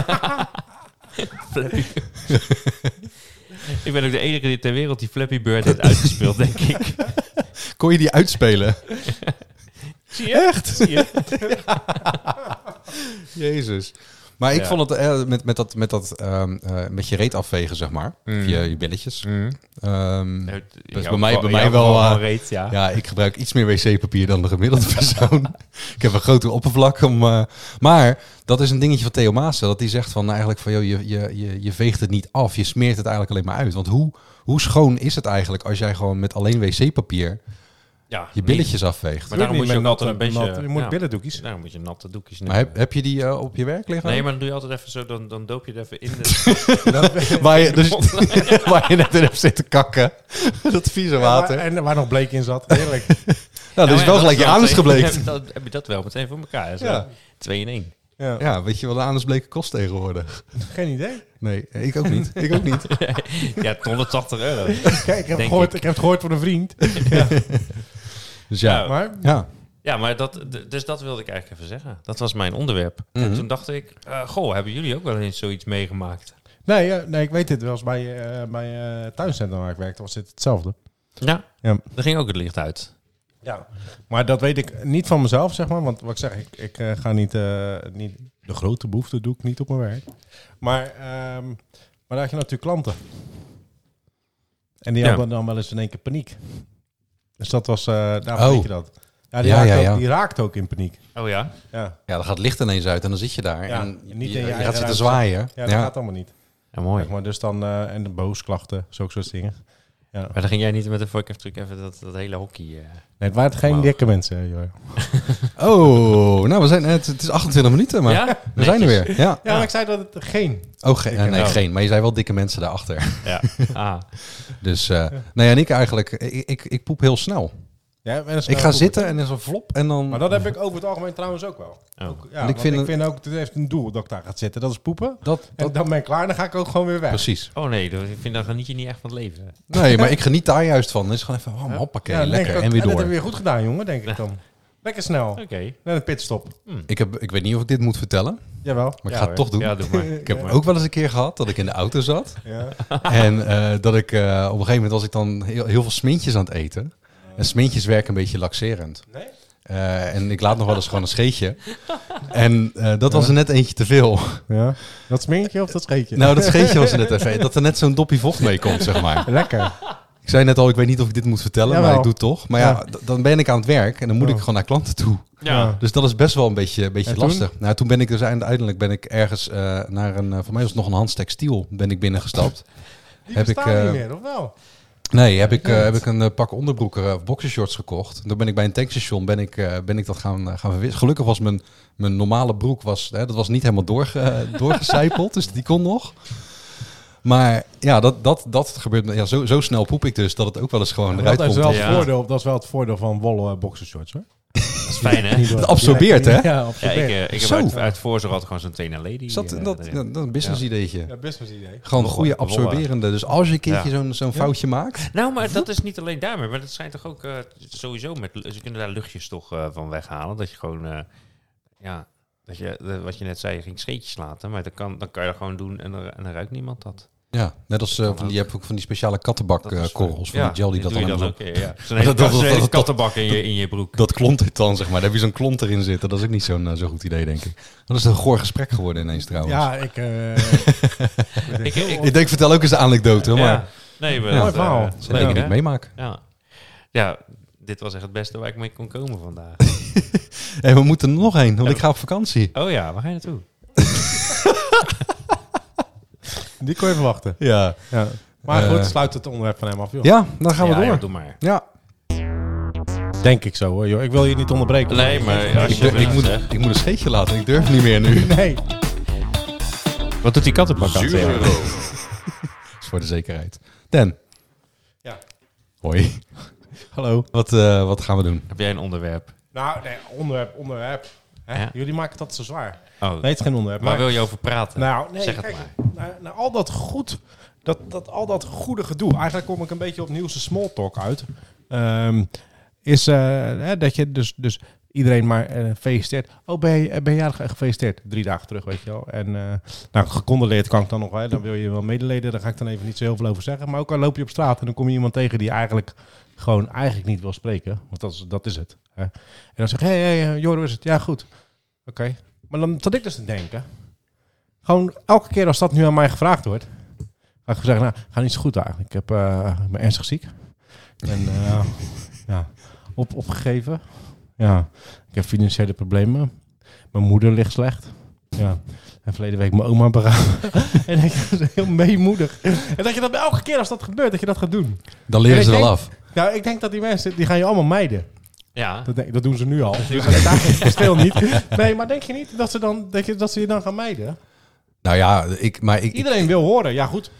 S3: Ik ben ook de enige die ter wereld die Flappy Bird heeft uitgespeeld, denk ik.
S1: Kon je die uitspelen?
S3: Zie je? Echt? Zie je?
S1: Jezus. Maar ik
S3: Ja.
S1: vond het eh, met, met dat, met, dat ehm, eh, met je reet afvegen, zeg maar.
S3: Mm.
S1: Via je billetjes. Ehm,
S3: Dat
S1: bij mij- bij mij wel, eh,
S3: reeds, ja.
S1: ja, ik gebruik iets meer wc-papier dan de gemiddelde persoon. ik heb een groter oppervlak. Om, eh, maar dat is een dingetje van Theo Maassen. Dat hij zegt van nou, eigenlijk van joh, je, je, je, je veegt het niet af. Je smeert het eigenlijk alleen maar uit. Want hoe, hoe schoon is het eigenlijk als jij gewoon met alleen wc-papier
S3: Ja,
S1: je
S3: niet-
S1: billetjes afveegt?
S3: Maar daarom
S2: Doe
S3: moet
S2: het
S3: je
S2: niet
S3: ook
S2: met
S3: altijd een
S2: natte-
S3: beetje...
S2: natte- Je moet
S3: ja,
S2: billendoekjes.
S3: Daarom nou, moet je natte doekjes
S1: Maar
S3: nemen.
S1: heb, heb je die eh, op je werk liggen?
S3: Nee, maar dan doe je altijd even zo, dan, dan doop je het even in de...
S1: waar, je, dus, waar je net in hebt zitten kakken. Dat vieze water.
S2: Ja, en waar nog bleek in zat. Heerlijk.
S1: nou, dat is wel gelijk je anus gebleekt.
S3: Dan heb je dat- heb je dat wel meteen voor elkaar. Zo.
S1: Ja.
S3: Twee in één.
S2: Ja.
S1: Ja, weet je wat een anus bleken kost tegenwoordig?
S2: Geen idee.
S1: Nee, ik ook niet. Ik ook niet.
S3: Ja, 180 euro.
S2: Kijk, ik heb,
S3: Denk
S2: gehoord,
S3: ik.
S2: ik. heb het gehoord van een vriend.
S1: Dus ja.
S3: Nou,
S2: Maar
S1: Ja,
S3: Ja, maar dat, d- dus dat wilde ik eigenlijk even zeggen. Dat was mijn onderwerp.
S1: Mhm.
S3: En toen dacht ik, eh, goh, hebben jullie ook wel eens zoiets meegemaakt?
S2: nee, ja, nee, ik weet dit wel eens bij, eh, bij eh, tuincentrum waar ik werkte. Was dit hetzelfde.
S3: Ja.
S2: Ja.
S3: Er ging ook het licht uit.
S2: Ja. Maar dat weet ik niet van mezelf, zeg maar. Want wat ik zeg, ik, ik eh, ga niet, eh, niet... De grote behoefte doe ik niet op mijn werk. Maar, ehm, maar daar had je natuurlijk klanten. En die
S3: Ja.
S2: hadden dan wel eens in één keer paniek. Dus dat was... eh daarom
S1: Oh.
S2: weet je dat. Ja, die,
S1: Ja,
S2: raakt
S1: ja,
S2: ook,
S1: ja.
S2: die raakt ook in paniek.
S3: Oh ja?
S2: Ja,
S1: ja, dan gaat licht ineens uit en dan zit je daar.
S2: Ja,
S1: en
S2: niet in je
S1: je, je
S2: eigen
S1: gaat zitten
S2: ruimte.
S1: zwaaien.
S2: ja dat gaat allemaal niet.
S3: Ja, mooi.
S2: Zeg maar, dus dan, eh, en de boosklachten, zulke soort dingen. Ja.
S3: Maar dan ging jij niet met de vork truc even dat, dat hele hockey... eh
S2: Nee, het waren geen
S3: Wauw.
S2: dikke
S1: eh,
S2: mensen, joh.
S1: Oh, nou, we zijn, het, het is 28 minuten, maar
S3: Ja?
S1: we zijn er
S3: Netjes.
S1: weer. Ja.
S2: Ja, maar ik zei dat het geen.
S1: Oh, geen- eh, nee,
S3: nou.
S1: geen. Maar je zei wel dikke mensen daarachter.
S3: Ja. Ah.
S1: Dus, eh nee, en ik eigenlijk, ik, ik, ik poep heel snel.
S2: Ja, en dat is
S1: Ik
S2: nou
S1: ga
S2: goed.
S1: zitten en dan is een flop en dan...
S2: Maar dat heb ik over het algemeen trouwens ook wel.
S3: Oh.
S2: Ja,
S1: ik
S2: want ik
S1: vind
S2: vind,
S1: het-
S2: ook, het heeft een doel dat ik daar ga zitten. Dat is poepen.
S1: dat,
S2: En
S1: dat,
S2: dan ben ik klaar, dan ga ik ook gewoon weer weg.
S1: precies.
S3: oh nee, dat- ik vind dan geniet je niet echt van het leven.
S1: Nee, maar ik geniet daar juist van. Het is gewoon even, oh, hoppakee,
S2: Ja, dan denk
S1: lekker.
S2: ik ook,
S1: en weer
S2: Dat
S1: door.
S2: heb je weer goed gedaan, jongen, denk ik dan. Lekker snel.
S3: Oké.
S2: Naar de pitstop.
S1: Ik, heb, ik weet niet of ik dit moet vertellen,
S2: Jawel.
S1: maar ik
S3: Ja,
S1: ga
S3: hoor.
S1: het toch doen.
S3: Ja, doe maar.
S1: ik heb ook wel eens een keer gehad dat ik in de auto zat.
S2: Ja.
S1: en eh, dat ik eh, op een gegeven moment was ik dan heel, heel veel smintjes aan het eten. En smintjes werken een beetje laxerend.
S2: Nee?
S1: Eh, en ik laat nog wel eens gewoon een scheetje. En eh, dat was er net eentje te veel.
S2: Ja. Dat smeertje of dat scheetje?
S1: nou, dat scheetje was er net even. Dat er net zo'n doppie vocht mee komt, zeg maar.
S2: Lekker.
S1: Ik zei net al, ik weet niet of ik dit moet vertellen, maar
S2: Jawel.
S1: ik doe het toch. Maar ja,
S2: Ja.
S1: d- dan ben ik aan het werk en dan moet
S2: Ja.
S1: ik gewoon naar klanten toe.
S2: Ja.
S1: Dus dat is best wel een beetje, een beetje
S2: En toen?
S1: lastig. Nou, toen ben ik dus eind- uiteindelijk ben ik ergens eh, naar een, eh, voor mij was het nog een Hans Textiel, ben ik binnengestapt.
S2: Die
S1: Heb
S2: bestaan
S1: ik, eh,
S2: niet meer, of wel?
S1: Nee, heb ik, eh, heb ik een eh, pak onderbroeken eh, of boxershorts gekocht. Toen ben ik bij een tankstation ben ik, eh, ben ik dat gaan, eh, gaan verwisselen. Gelukkig was mijn, mijn normale broek was, hè, dat was niet helemaal doorge, doorgecijpeld, dus die kon nog. Maar ja, dat, dat, dat gebeurt. me- Ja, zo, zo snel poep ik dus dat het ook wel eens gewoon eruit
S2: dat, is
S1: komt.
S2: wel het
S3: Ja.
S2: voordeel, dat is wel het voordeel van wollen boxershorts, hoor.
S3: Dat is fijn, hè?
S2: Niet door-
S1: Het absorbeert, hè?
S2: Ja,
S3: Ja, ik,
S2: absorbeert.
S3: eh, ik heb
S1: Zo.
S3: uit, uit voorzorg altijd gewoon zo'n Tena Lady.
S1: Is dat,
S3: eh,
S1: dat,
S3: erin.
S1: dat, een business ideetje.
S2: Ja, business idee.
S1: Gewoon
S3: Nog
S1: goede
S3: wel- nog wel
S1: absorberende. Dus als je een keertje
S3: Ja.
S1: zo'n zo'n foutje maakt.
S3: Nou, maar dat is niet alleen daarmee. Maar dat zijn toch ook eh, sowieso met... Ze kunnen daar luchtjes toch eh, van weghalen. Dat je gewoon... eh, ja, dat je, eh, wat je net zei, je ging scheetjes laten. Maar dat kan, dan kan je dat gewoon doen en dan, en dan ruikt niemand dat.
S1: Ja, net als eh,
S3: kan
S1: van die,
S3: ook.
S1: je hebt ook van die speciale
S3: Dat is- eh,
S1: kattenbakkorrels. Eh, Van die gel die dat
S3: doe
S1: dan
S3: je
S1: helemaal zo-
S3: ook. eh, ja. Zo'n hele,
S1: dat- dat-
S3: zo'n hele
S1: dat- dat-
S3: kattenbak in je, in je broek.
S1: Dat klont het dan, zeg maar. Daar heb je zo'n klont erin zitten. Dat is ook niet zo'n eh, zo'n goed idee, denk ik. Dat is een goor gesprek geworden ineens trouwens.
S2: Ja, ik... eh,
S3: Ik, ik,
S1: Ik denk, vertel ook eens de anekdote, maar
S3: ja. Nee, maar dat,
S2: Mooi verhaal.
S3: eh,
S1: dat
S3: is
S1: zal ik
S3: leuk,
S1: niet
S3: hè?
S1: meemaken.
S3: Ja. ja, dit was echt het beste waar ik mee kon komen vandaag.
S1: En we moeten er nog heen, want ik ga op vakantie.
S3: Oh ja, waar ga je naartoe?
S2: die kon je verwachten.
S1: Ja,
S2: Ja. Maar
S1: Eh.
S2: goed, sluit het onderwerp van hem af, joh.
S1: ja dan gaan we
S3: Ja,
S1: door.
S3: joh,
S1: Ja,
S3: doe maar.
S2: Denk ik zo, hoor, joh. Ik wil je niet onderbreken.
S3: Nee, maar als
S1: Ik,
S3: je...
S1: durf- ik, moet, ik moet een scheetje laten. Ik durf niet meer nu.
S2: Nee.
S3: Wat doet die kattenbak aan?
S6: zure
S3: het
S6: room,
S1: Dat is voor de zekerheid. Dan.
S2: Ja.
S1: Hoi.
S2: Hallo.
S1: Wat, eh, wat gaan we doen?
S3: Heb jij een onderwerp?
S2: Nou, nee, onderwerp, onderwerp. Hè?
S3: Ja.
S2: Jullie maken dat zo zwaar.
S3: Oh,
S2: Nee, het is geen onderwerp.
S3: waar
S2: Maar,
S3: wil je over praten?
S2: nou, nee,
S3: zeg het
S2: kijk,
S3: maar.
S2: na, na al dat goed, dat, dat, al dat goede gedoe, eigenlijk kom ik een beetje op nieuwse small talk uit. Ehm, is eh, hè, dat je dus, dus iedereen maar eh, feliciteert. Oh, ben je, eh, ben je jarig? Eh, gefeliciteerd? Drie dagen terug, weet je wel. En eh, nou, gecondoleerd kan ik dan nog. Hè. Dan wil je wel medeleden, daar ga ik dan even niet zo heel veel over zeggen. Maar ook al loop je op straat en dan kom je iemand tegen die eigenlijk gewoon eigenlijk niet wil spreken. Want dat is, dat is het. Hè. En dan zeg je, hé, hey, hey, Joris, is het? Ja, goed. Oké. Maar dan zat ik dus te denken. Gewoon elke keer als dat nu aan mij gevraagd wordt. Ga ik zeggen, nou, ga niet zo goed eigenlijk. Ik heb, eh, ik ben ernstig ziek. En eh, ja, op, opgegeven. Ja, ik heb financiële problemen. Mijn moeder ligt slecht. Ja. En verleden week mijn oma begraven. en ik dat is heel meemoedig. En dat je dat elke keer als dat gebeurt, dat je dat gaat doen.
S1: Dan leren
S2: Ik
S1: ze wel
S2: denk-
S1: af.
S2: Nou, ik denk dat die mensen, die gaan je allemaal mijden.
S3: Ja,
S2: Dat, denk- dat doen ze nu al. Dus daar is het verschil niet. Nee, maar denk je niet dat ze, dan, dat je, dat ze je dan gaan mijden?
S1: Nou ja, ik, maar ik,
S2: Iedereen wil horen. Ja, goed.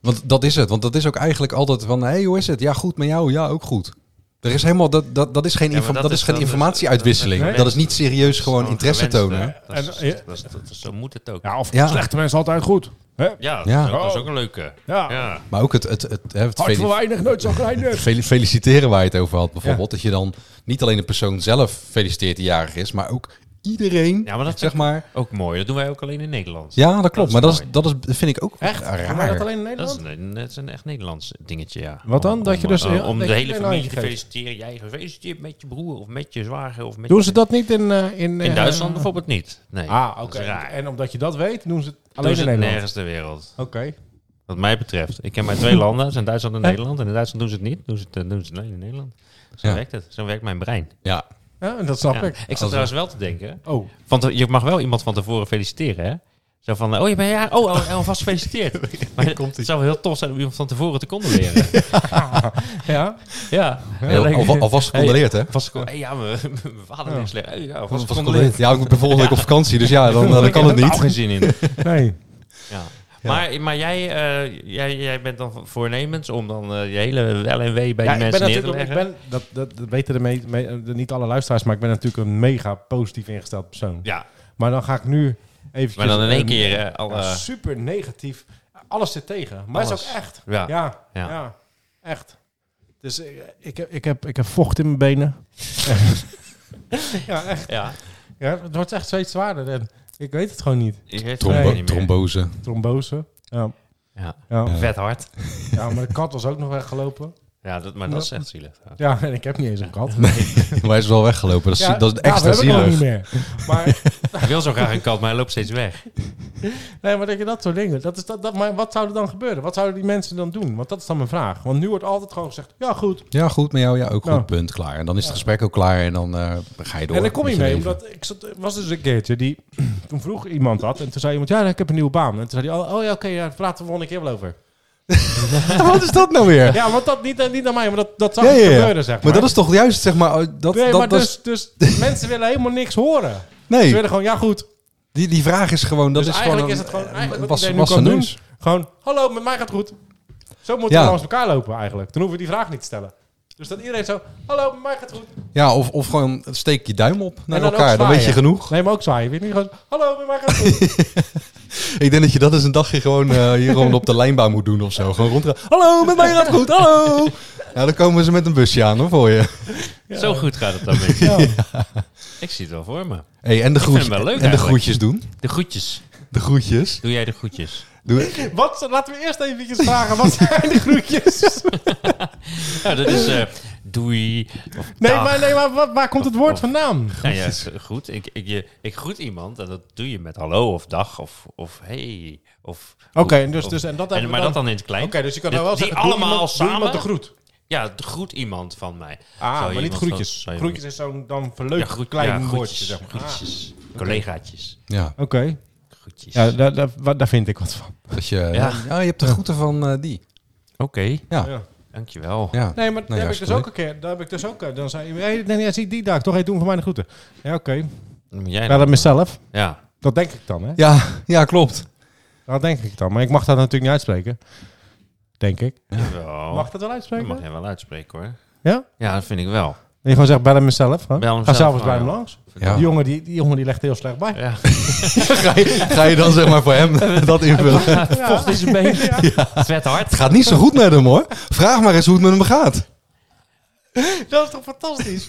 S1: Want dat is het. Want dat is ook eigenlijk altijd van... hey, hoe is het? Ja, goed met jou. Ja, ook goed. Er is helemaal... Dat, dat, dat is geen,
S3: Ja, maar
S1: info-
S3: dat
S1: dat is
S3: is
S1: geen
S3: dan- dus-
S1: informatieuitwisseling.
S3: Nee.
S1: Dat is niet serieus gewoon
S3: Zo'n
S1: interesse
S3: gewenste-
S1: tonen.
S3: Dat is-
S2: En, eh,
S3: dat is- dat is- Zo moet het ook.
S2: Ja, Oh. of
S1: Ja.
S2: slechte mensen altijd goed. Hè?
S3: Ja, dat,
S1: Ja.
S3: Is, ook, dat is ook een leuke.
S2: Ja.
S3: Ja.
S1: Maar ook het, het, het, hè, het
S2: Hard
S1: fel-
S2: voor weinig, nooit zo dus. grijnig.
S1: fel- feliciteren waar je het over had bijvoorbeeld. Dat je dan niet alleen de persoon zelf feliciteert die jarig is... maar ook iedereen,
S3: Ja, maar dat
S1: zeg
S3: vind
S1: maar...
S3: Ook mooi. Dat doen wij ook alleen in Nederland.
S1: Ja, dat klopt.
S3: Dat is
S1: maar dat,
S3: mooi.
S1: is, dat is, dat vind ik ook
S2: Echt?
S1: raar.
S2: Doen wij dat alleen in
S3: Dat is,
S2: Nederland?
S3: een, dat is een echt Nederlands dingetje, ja.
S2: Wat dan?
S3: Om-
S2: Dat je
S3: om,
S2: dus-
S3: eh,
S2: ja,
S3: om
S2: dat
S3: de
S2: je
S3: hele
S2: iedereen
S3: familie te
S2: geeft.
S3: feliciteren. Jij gefeliciteerd met je broer of met je zwager of met
S2: Doen
S3: je-
S2: ze dat niet in... eh, in,
S3: In
S2: eh,
S3: Duitsland bijvoorbeeld niet. Nee.
S2: Ah, oké.
S3: Dat is raar.
S2: En omdat je dat weet, doen ze het alleen
S3: Alleen
S2: in
S3: ze het
S2: Nederland.
S3: nergens ter wereld.
S2: Oké.
S3: Wat mij betreft. Ik ken maar twee landen. Dat zijn Duitsland en
S2: Hè?
S3: Nederland. En in Duitsland doen ze het niet. Doen ze het, eh, doen ze het alleen in Nederland. Zo
S1: Ja.
S3: werkt het. Zo werkt mijn brein.
S1: Ja,
S2: Ja, en dat snap
S3: Ja.
S2: ik.
S3: Ik zat trouwens wel te denken.
S2: Oh,
S3: Want je mag wel iemand van tevoren feliciteren, hè? Zo van, eh, oh, je bent ja, oh, al- alvast gefeliciteerd. Maar het zou wel heel tof zijn om iemand van tevoren te condoleren.
S2: ja.
S3: ja.
S1: Heel- alva- alvast gecondoleerd, hè?
S3: Alvast gecon- hey, ja, mijn mijn vader is slecht. Hey, ja, alvast
S1: Was
S3: gecondoleerd.
S1: gecondoleerd. Ja, ik ben volgende week op vakantie, dus ja, dan, eh, dan kan het
S3: Ik heb er
S1: niet.
S3: geen zin in.
S2: Nee.
S3: Ja. Maar, maar jij, eh, jij, jij bent dan voornemens om dan eh, je hele wel en wee bij
S2: Ja,
S3: die
S2: ik ben
S3: mensen neer te
S2: natuurlijk... Ik
S3: leggen?
S2: ben, dat, dat, dat weten de me, me- eh, niet alle luisteraars, maar ik ben natuurlijk een mega positief ingesteld persoon.
S3: Ja,
S2: Maar dan ga ik nu eventjes...
S3: maar dan in één
S2: eh,
S3: keer eh, al...
S2: ja,
S3: eh,
S2: super negatief. eh, Alles zit tegen. Maar het is
S3: Alles.
S2: ook echt.
S3: ja.
S2: Ja,
S3: Ja.
S2: ja. echt. Dus ik, ik, heb- ik, heb, ik heb vocht in mijn benen. ja, echt.
S3: Ja.
S2: Ja, het wordt echt steeds zwaarder. En ik weet het gewoon niet.
S3: Ik weet het
S1: Trombo-
S3: gewoon niet meer.
S1: trombose.
S2: Trombose. Ja,
S3: Ja.
S2: ja.
S3: Vet hard.
S2: ja, maar de kat was ook nog weggelopen.
S3: Ja, dat, maar dat is echt zielig.
S2: Ja, en ik heb niet eens een kat.
S1: Maar hij is wel weggelopen. Dat is,
S2: Ja, Nou,
S1: dat is
S2: daarom
S1: extra
S2: heb ik hem ook
S1: zielig.
S2: niet meer. Maar
S3: Ik wil zo graag een kat, maar hij loopt steeds weg.
S2: Nee, maar dat je dat soort dingen. Dat is dat, dat, maar wat zou er dan gebeuren? Wat zouden die mensen dan doen? Want dat is dan mijn vraag. Want nu wordt altijd gewoon gezegd: ja, goed.
S1: Ja, goed met jou. Ja, ook goed.
S2: Ja.
S1: Punt. Klaar. En dan is het gesprek ook klaar en dan eh, ga je door.
S2: en dan kom
S1: met
S2: je mee,
S1: leven.
S2: omdat ik zat, er was dus een keertje die. Toen vroeg iemand dat. En toen zei iemand: ja, ik heb een nieuwe baan. En toen zei hij: oh, oh ja, oké, ja, daar praten we volgende keer wel over.
S1: Wat is dat nou weer?
S2: Ja, want dat niet, niet aan mij, maar dat, dat zou
S1: Ja, ja, ja.
S2: gebeuren, zeg maar.
S1: Maar dat is toch juist, zeg maar... oh, Dat,
S2: nee,
S1: dat,
S2: maar
S1: dat is-
S2: dus, dus mensen willen helemaal niks horen. Ze
S1: nee
S2: willen gewoon, ja goed.
S1: die, die vraag is gewoon... Dat
S2: dus
S1: is
S2: eigenlijk
S1: gewoon
S2: is het gewoon, eigenlijk wat
S1: was,
S2: iedereen nu
S1: was
S2: kan
S1: een
S2: doen,
S1: neus.
S2: gewoon, hallo, met mij gaat het goed. Zo moeten
S1: Ja.
S2: we langs elkaar lopen eigenlijk. Dan hoeven we die vraag niet te stellen. Dus dat iedereen zo, hallo, met mij gaat het goed.
S1: Ja, of, of gewoon steek je duim op naar
S2: En dan
S1: elkaar.
S2: ook
S1: Dan weet je
S2: zwaaien.
S1: genoeg.
S2: Nee, maar ook zwaaien. Weet je niet gewoon, hallo, met mij gaat het goed.
S1: Ik denk dat je dat eens een dagje gewoon eh, hier gewoon op de lijnbaan moet doen of zo. Gewoon rondrijden. Hallo, met mij gaat het goed. Hallo. Ja, dan komen ze met een busje aan hoor, voor je.
S3: Zo goed gaat het dan weer. Ik zie het wel voor me.
S1: Hey, en de, groet-
S3: vind hem wel leuk
S1: en de
S3: eigenlijk.
S1: groetjes doen.
S3: De groetjes.
S1: De groetjes.
S3: Doe jij de groetjes?
S1: Doe,
S2: Wat, laten we eerst eventjes vragen, wat zijn de groetjes?
S3: Ja, dat is eh, doei. Of
S2: Nee,
S3: dag.
S2: maar, nee, maar waar, waar komt het woord vandaan?
S3: Nou ja, goed. Ik, ik, je, ik groet iemand en dat doe je met hallo of dag of, of hey. Of,
S2: Oké, dus-
S3: of-
S2: dus- en dat
S3: en,
S2: hebben we
S3: maar dat
S2: dan-
S3: dan in het klein.
S2: Oké, dus je kan
S3: Dit-
S2: nou wel
S3: die
S2: zeggen, doe
S3: allemaal
S2: iemand- doe
S3: samen.
S2: iemand de groet.
S3: Ja, de groet iemand van mij. Zou
S2: Ah,
S3: je
S2: maar niet
S3: iemand
S2: groetjes.
S3: van- zou je-
S2: Groetjes is zo'n dan
S3: Ja,
S2: verleukt
S3: groet, ja,
S2: klein
S3: groetjes,
S2: woordje, zeg maar. Ah,
S3: Groetjes. Collegaatjes.
S1: ja,
S2: Oké,
S3: Groetjes.
S2: ja, daar, daar, waar- daar vind ik wat van.
S1: dat je, ja.
S3: Ja.
S1: je hebt de groeten van eh, die.
S3: Oké,
S1: Ja, ja.
S2: Ja.
S3: dankjewel.
S2: Nee, maar daar
S1: Nou ja,
S2: heb
S1: is
S2: ik dus
S1: leuk.
S2: ook een keer. Daar heb ik dus ook. eh, Dan zei hey, nee, nee, zie ik die dag toch? Hey, doen voor mij de groeten. Ja, oké.
S3: Dan moet jij
S2: Ja,
S3: dan.
S2: dat mezelf.
S3: Ja.
S2: Dat denk ik dan, hè?
S1: Ja, ja, klopt.
S2: Dat denk ik dan. Maar ik mag dat natuurlijk niet uitspreken. Denk ik.
S3: Jawel.
S2: Mag ik dat wel
S3: dat
S2: uitspreken?
S3: mag jij wel uitspreken hoor.
S2: Ja?
S3: Ja, dat vind ik wel.
S2: Dat je gewoon zegt, bel hem mezelf. hè?
S3: Bel hem
S2: Ga
S3: zelf,
S2: zelf eens bij
S3: maar
S2: hem
S3: ja.
S2: langs.
S1: Ja.
S2: Die, jongen, die, die jongen die legt heel slecht bij.
S3: Ja.
S1: Ga je, ga je dan zeg maar voor hem dat invullen?
S3: Het vocht is een beetje. Het werd hard.
S1: Het gaat niet zo goed met hem hoor. Vraag maar eens hoe het met hem gaat.
S2: Dat is toch fantastisch?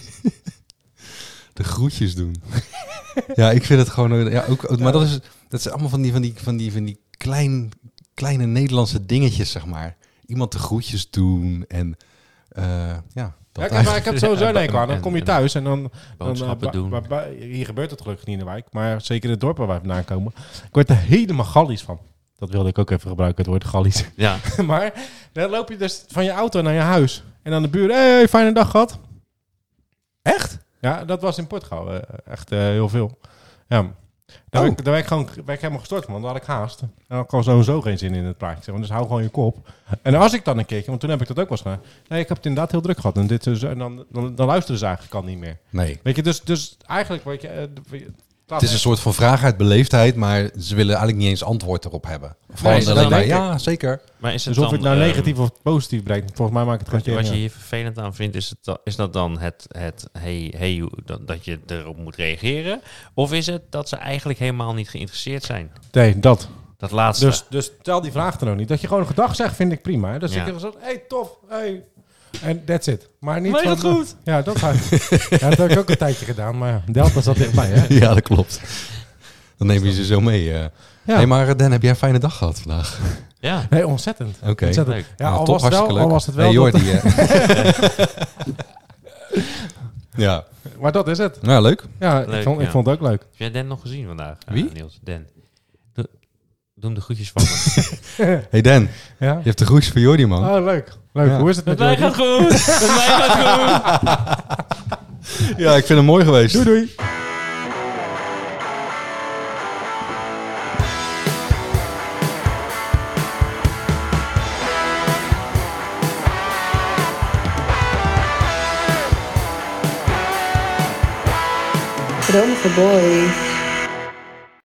S1: De groetjes doen. ja, ik vind het gewoon. eh, Ja, ook, maar dat is, dat is allemaal van die, van die, van die, van die klein, kleine Nederlandse dingetjes, zeg maar. Iemand de groetjes doen en. eh, ja,
S2: Ja,
S1: dat
S2: kijk, maar
S1: eigenlijk.
S2: ik heb sowieso een hekel aan. Dan kom je
S3: En-
S2: thuis en dan... dan eh,
S3: Boodschappen
S2: ba-
S3: doen.
S2: ba- ba- hier gebeurt het gelukkig niet in de wijk. Maar zeker in het dorp waar wij vandaan komen. Ik word er helemaal gallies van. Dat wilde ik ook even gebruiken, het woord gallies.
S3: Ja.
S2: Maar dan loop je dus van je auto naar je huis. En dan de buren, hey, fijne dag gehad. Echt? Ja, dat was in Portugal eh, echt eh, heel veel. Ja. Daar,
S1: Oh.
S2: werd, daar werd ik gewoon werd ik helemaal gestort van, want daar had ik haast. En dan had ik al sowieso geen zin in het praatje. zeg maar. Dus hou gewoon je kop. En als ik dan een keertje, want toen heb ik dat ook wel eens gedaan. Nee, ik heb het inderdaad heel druk gehad. En, dit, is- en dan, dan, dan luisteren ze eigenlijk al niet meer.
S1: Nee.
S2: Weet je, dus, dus eigenlijk... Weet je, eh, de-
S1: Het is een soort van vraag uit beleefdheid, maar ze willen eigenlijk niet eens antwoord erop hebben. Of gewoon
S3: dat
S1: alleen maar,
S3: denk ik.
S1: ja, zeker.
S3: Maar is het
S2: dus of
S3: dan,
S2: ik nou
S3: ehm,
S2: negatief of positief brengt, volgens mij maakt het
S3: Wat,
S2: geen
S3: wat je
S2: zin.
S3: hier vervelend aan vindt, is, het, da- is dat dan het, het hey, hey, hoe- dat, dat je erop moet reageren? Of is het dat ze eigenlijk helemaal niet geïnteresseerd zijn?
S2: eh, Nee, dat.
S3: Dat laatste.
S2: Dus, dus stel die vraag er nog niet. Dat je gewoon een gedag zegt, vind ik prima. Hè? Dus
S3: Ja.
S2: ik heb gezegd, hey, tof, hey. En that's it. Maar niet
S3: Maar je
S2: van...
S3: doet goed.
S2: Ja, dat, ga ik- ja, dat heb ik ook een tijdje gedaan. Maar ja, Delta zat dichtbij, hè?
S1: Ja, dat klopt. Dan neem je ze zo mee. eh.
S2: Ja.
S1: Hey, maar eh, Dan, heb jij een fijne dag gehad vandaag?
S3: ja.
S2: Nee, ontzettend.
S1: Oké.
S2: ontzettend.
S3: leuk.
S2: Ja,
S1: Nou,
S2: al,
S1: top,
S2: was het wel,
S1: hartstikke
S2: al
S1: leuk.
S2: was het wel...
S1: Hey,
S2: dat-
S1: Jordi, eh. ja,
S2: maar dat is het.
S1: nou leuk.
S2: Ja, ik,
S3: Leuk,
S2: vond, ik
S3: ja.
S2: vond het ook leuk.
S3: Heb jij Den nog gezien vandaag? eh,
S1: Wie?
S3: Niels, Den. Doe, doe hem de groetjes van me.
S1: Hey Dan,
S2: Ja.
S1: je hebt de groetjes voor Jordi, man.
S2: Oh, leuk. Leuk.
S1: Ja.
S2: Hoe is het met
S3: mij
S2: Jordi?
S3: gaat goed! Met mij gaat goed!
S1: Ja, ik vind hem mooi geweest.
S2: Doei, doei.
S4: Dromen voor boys.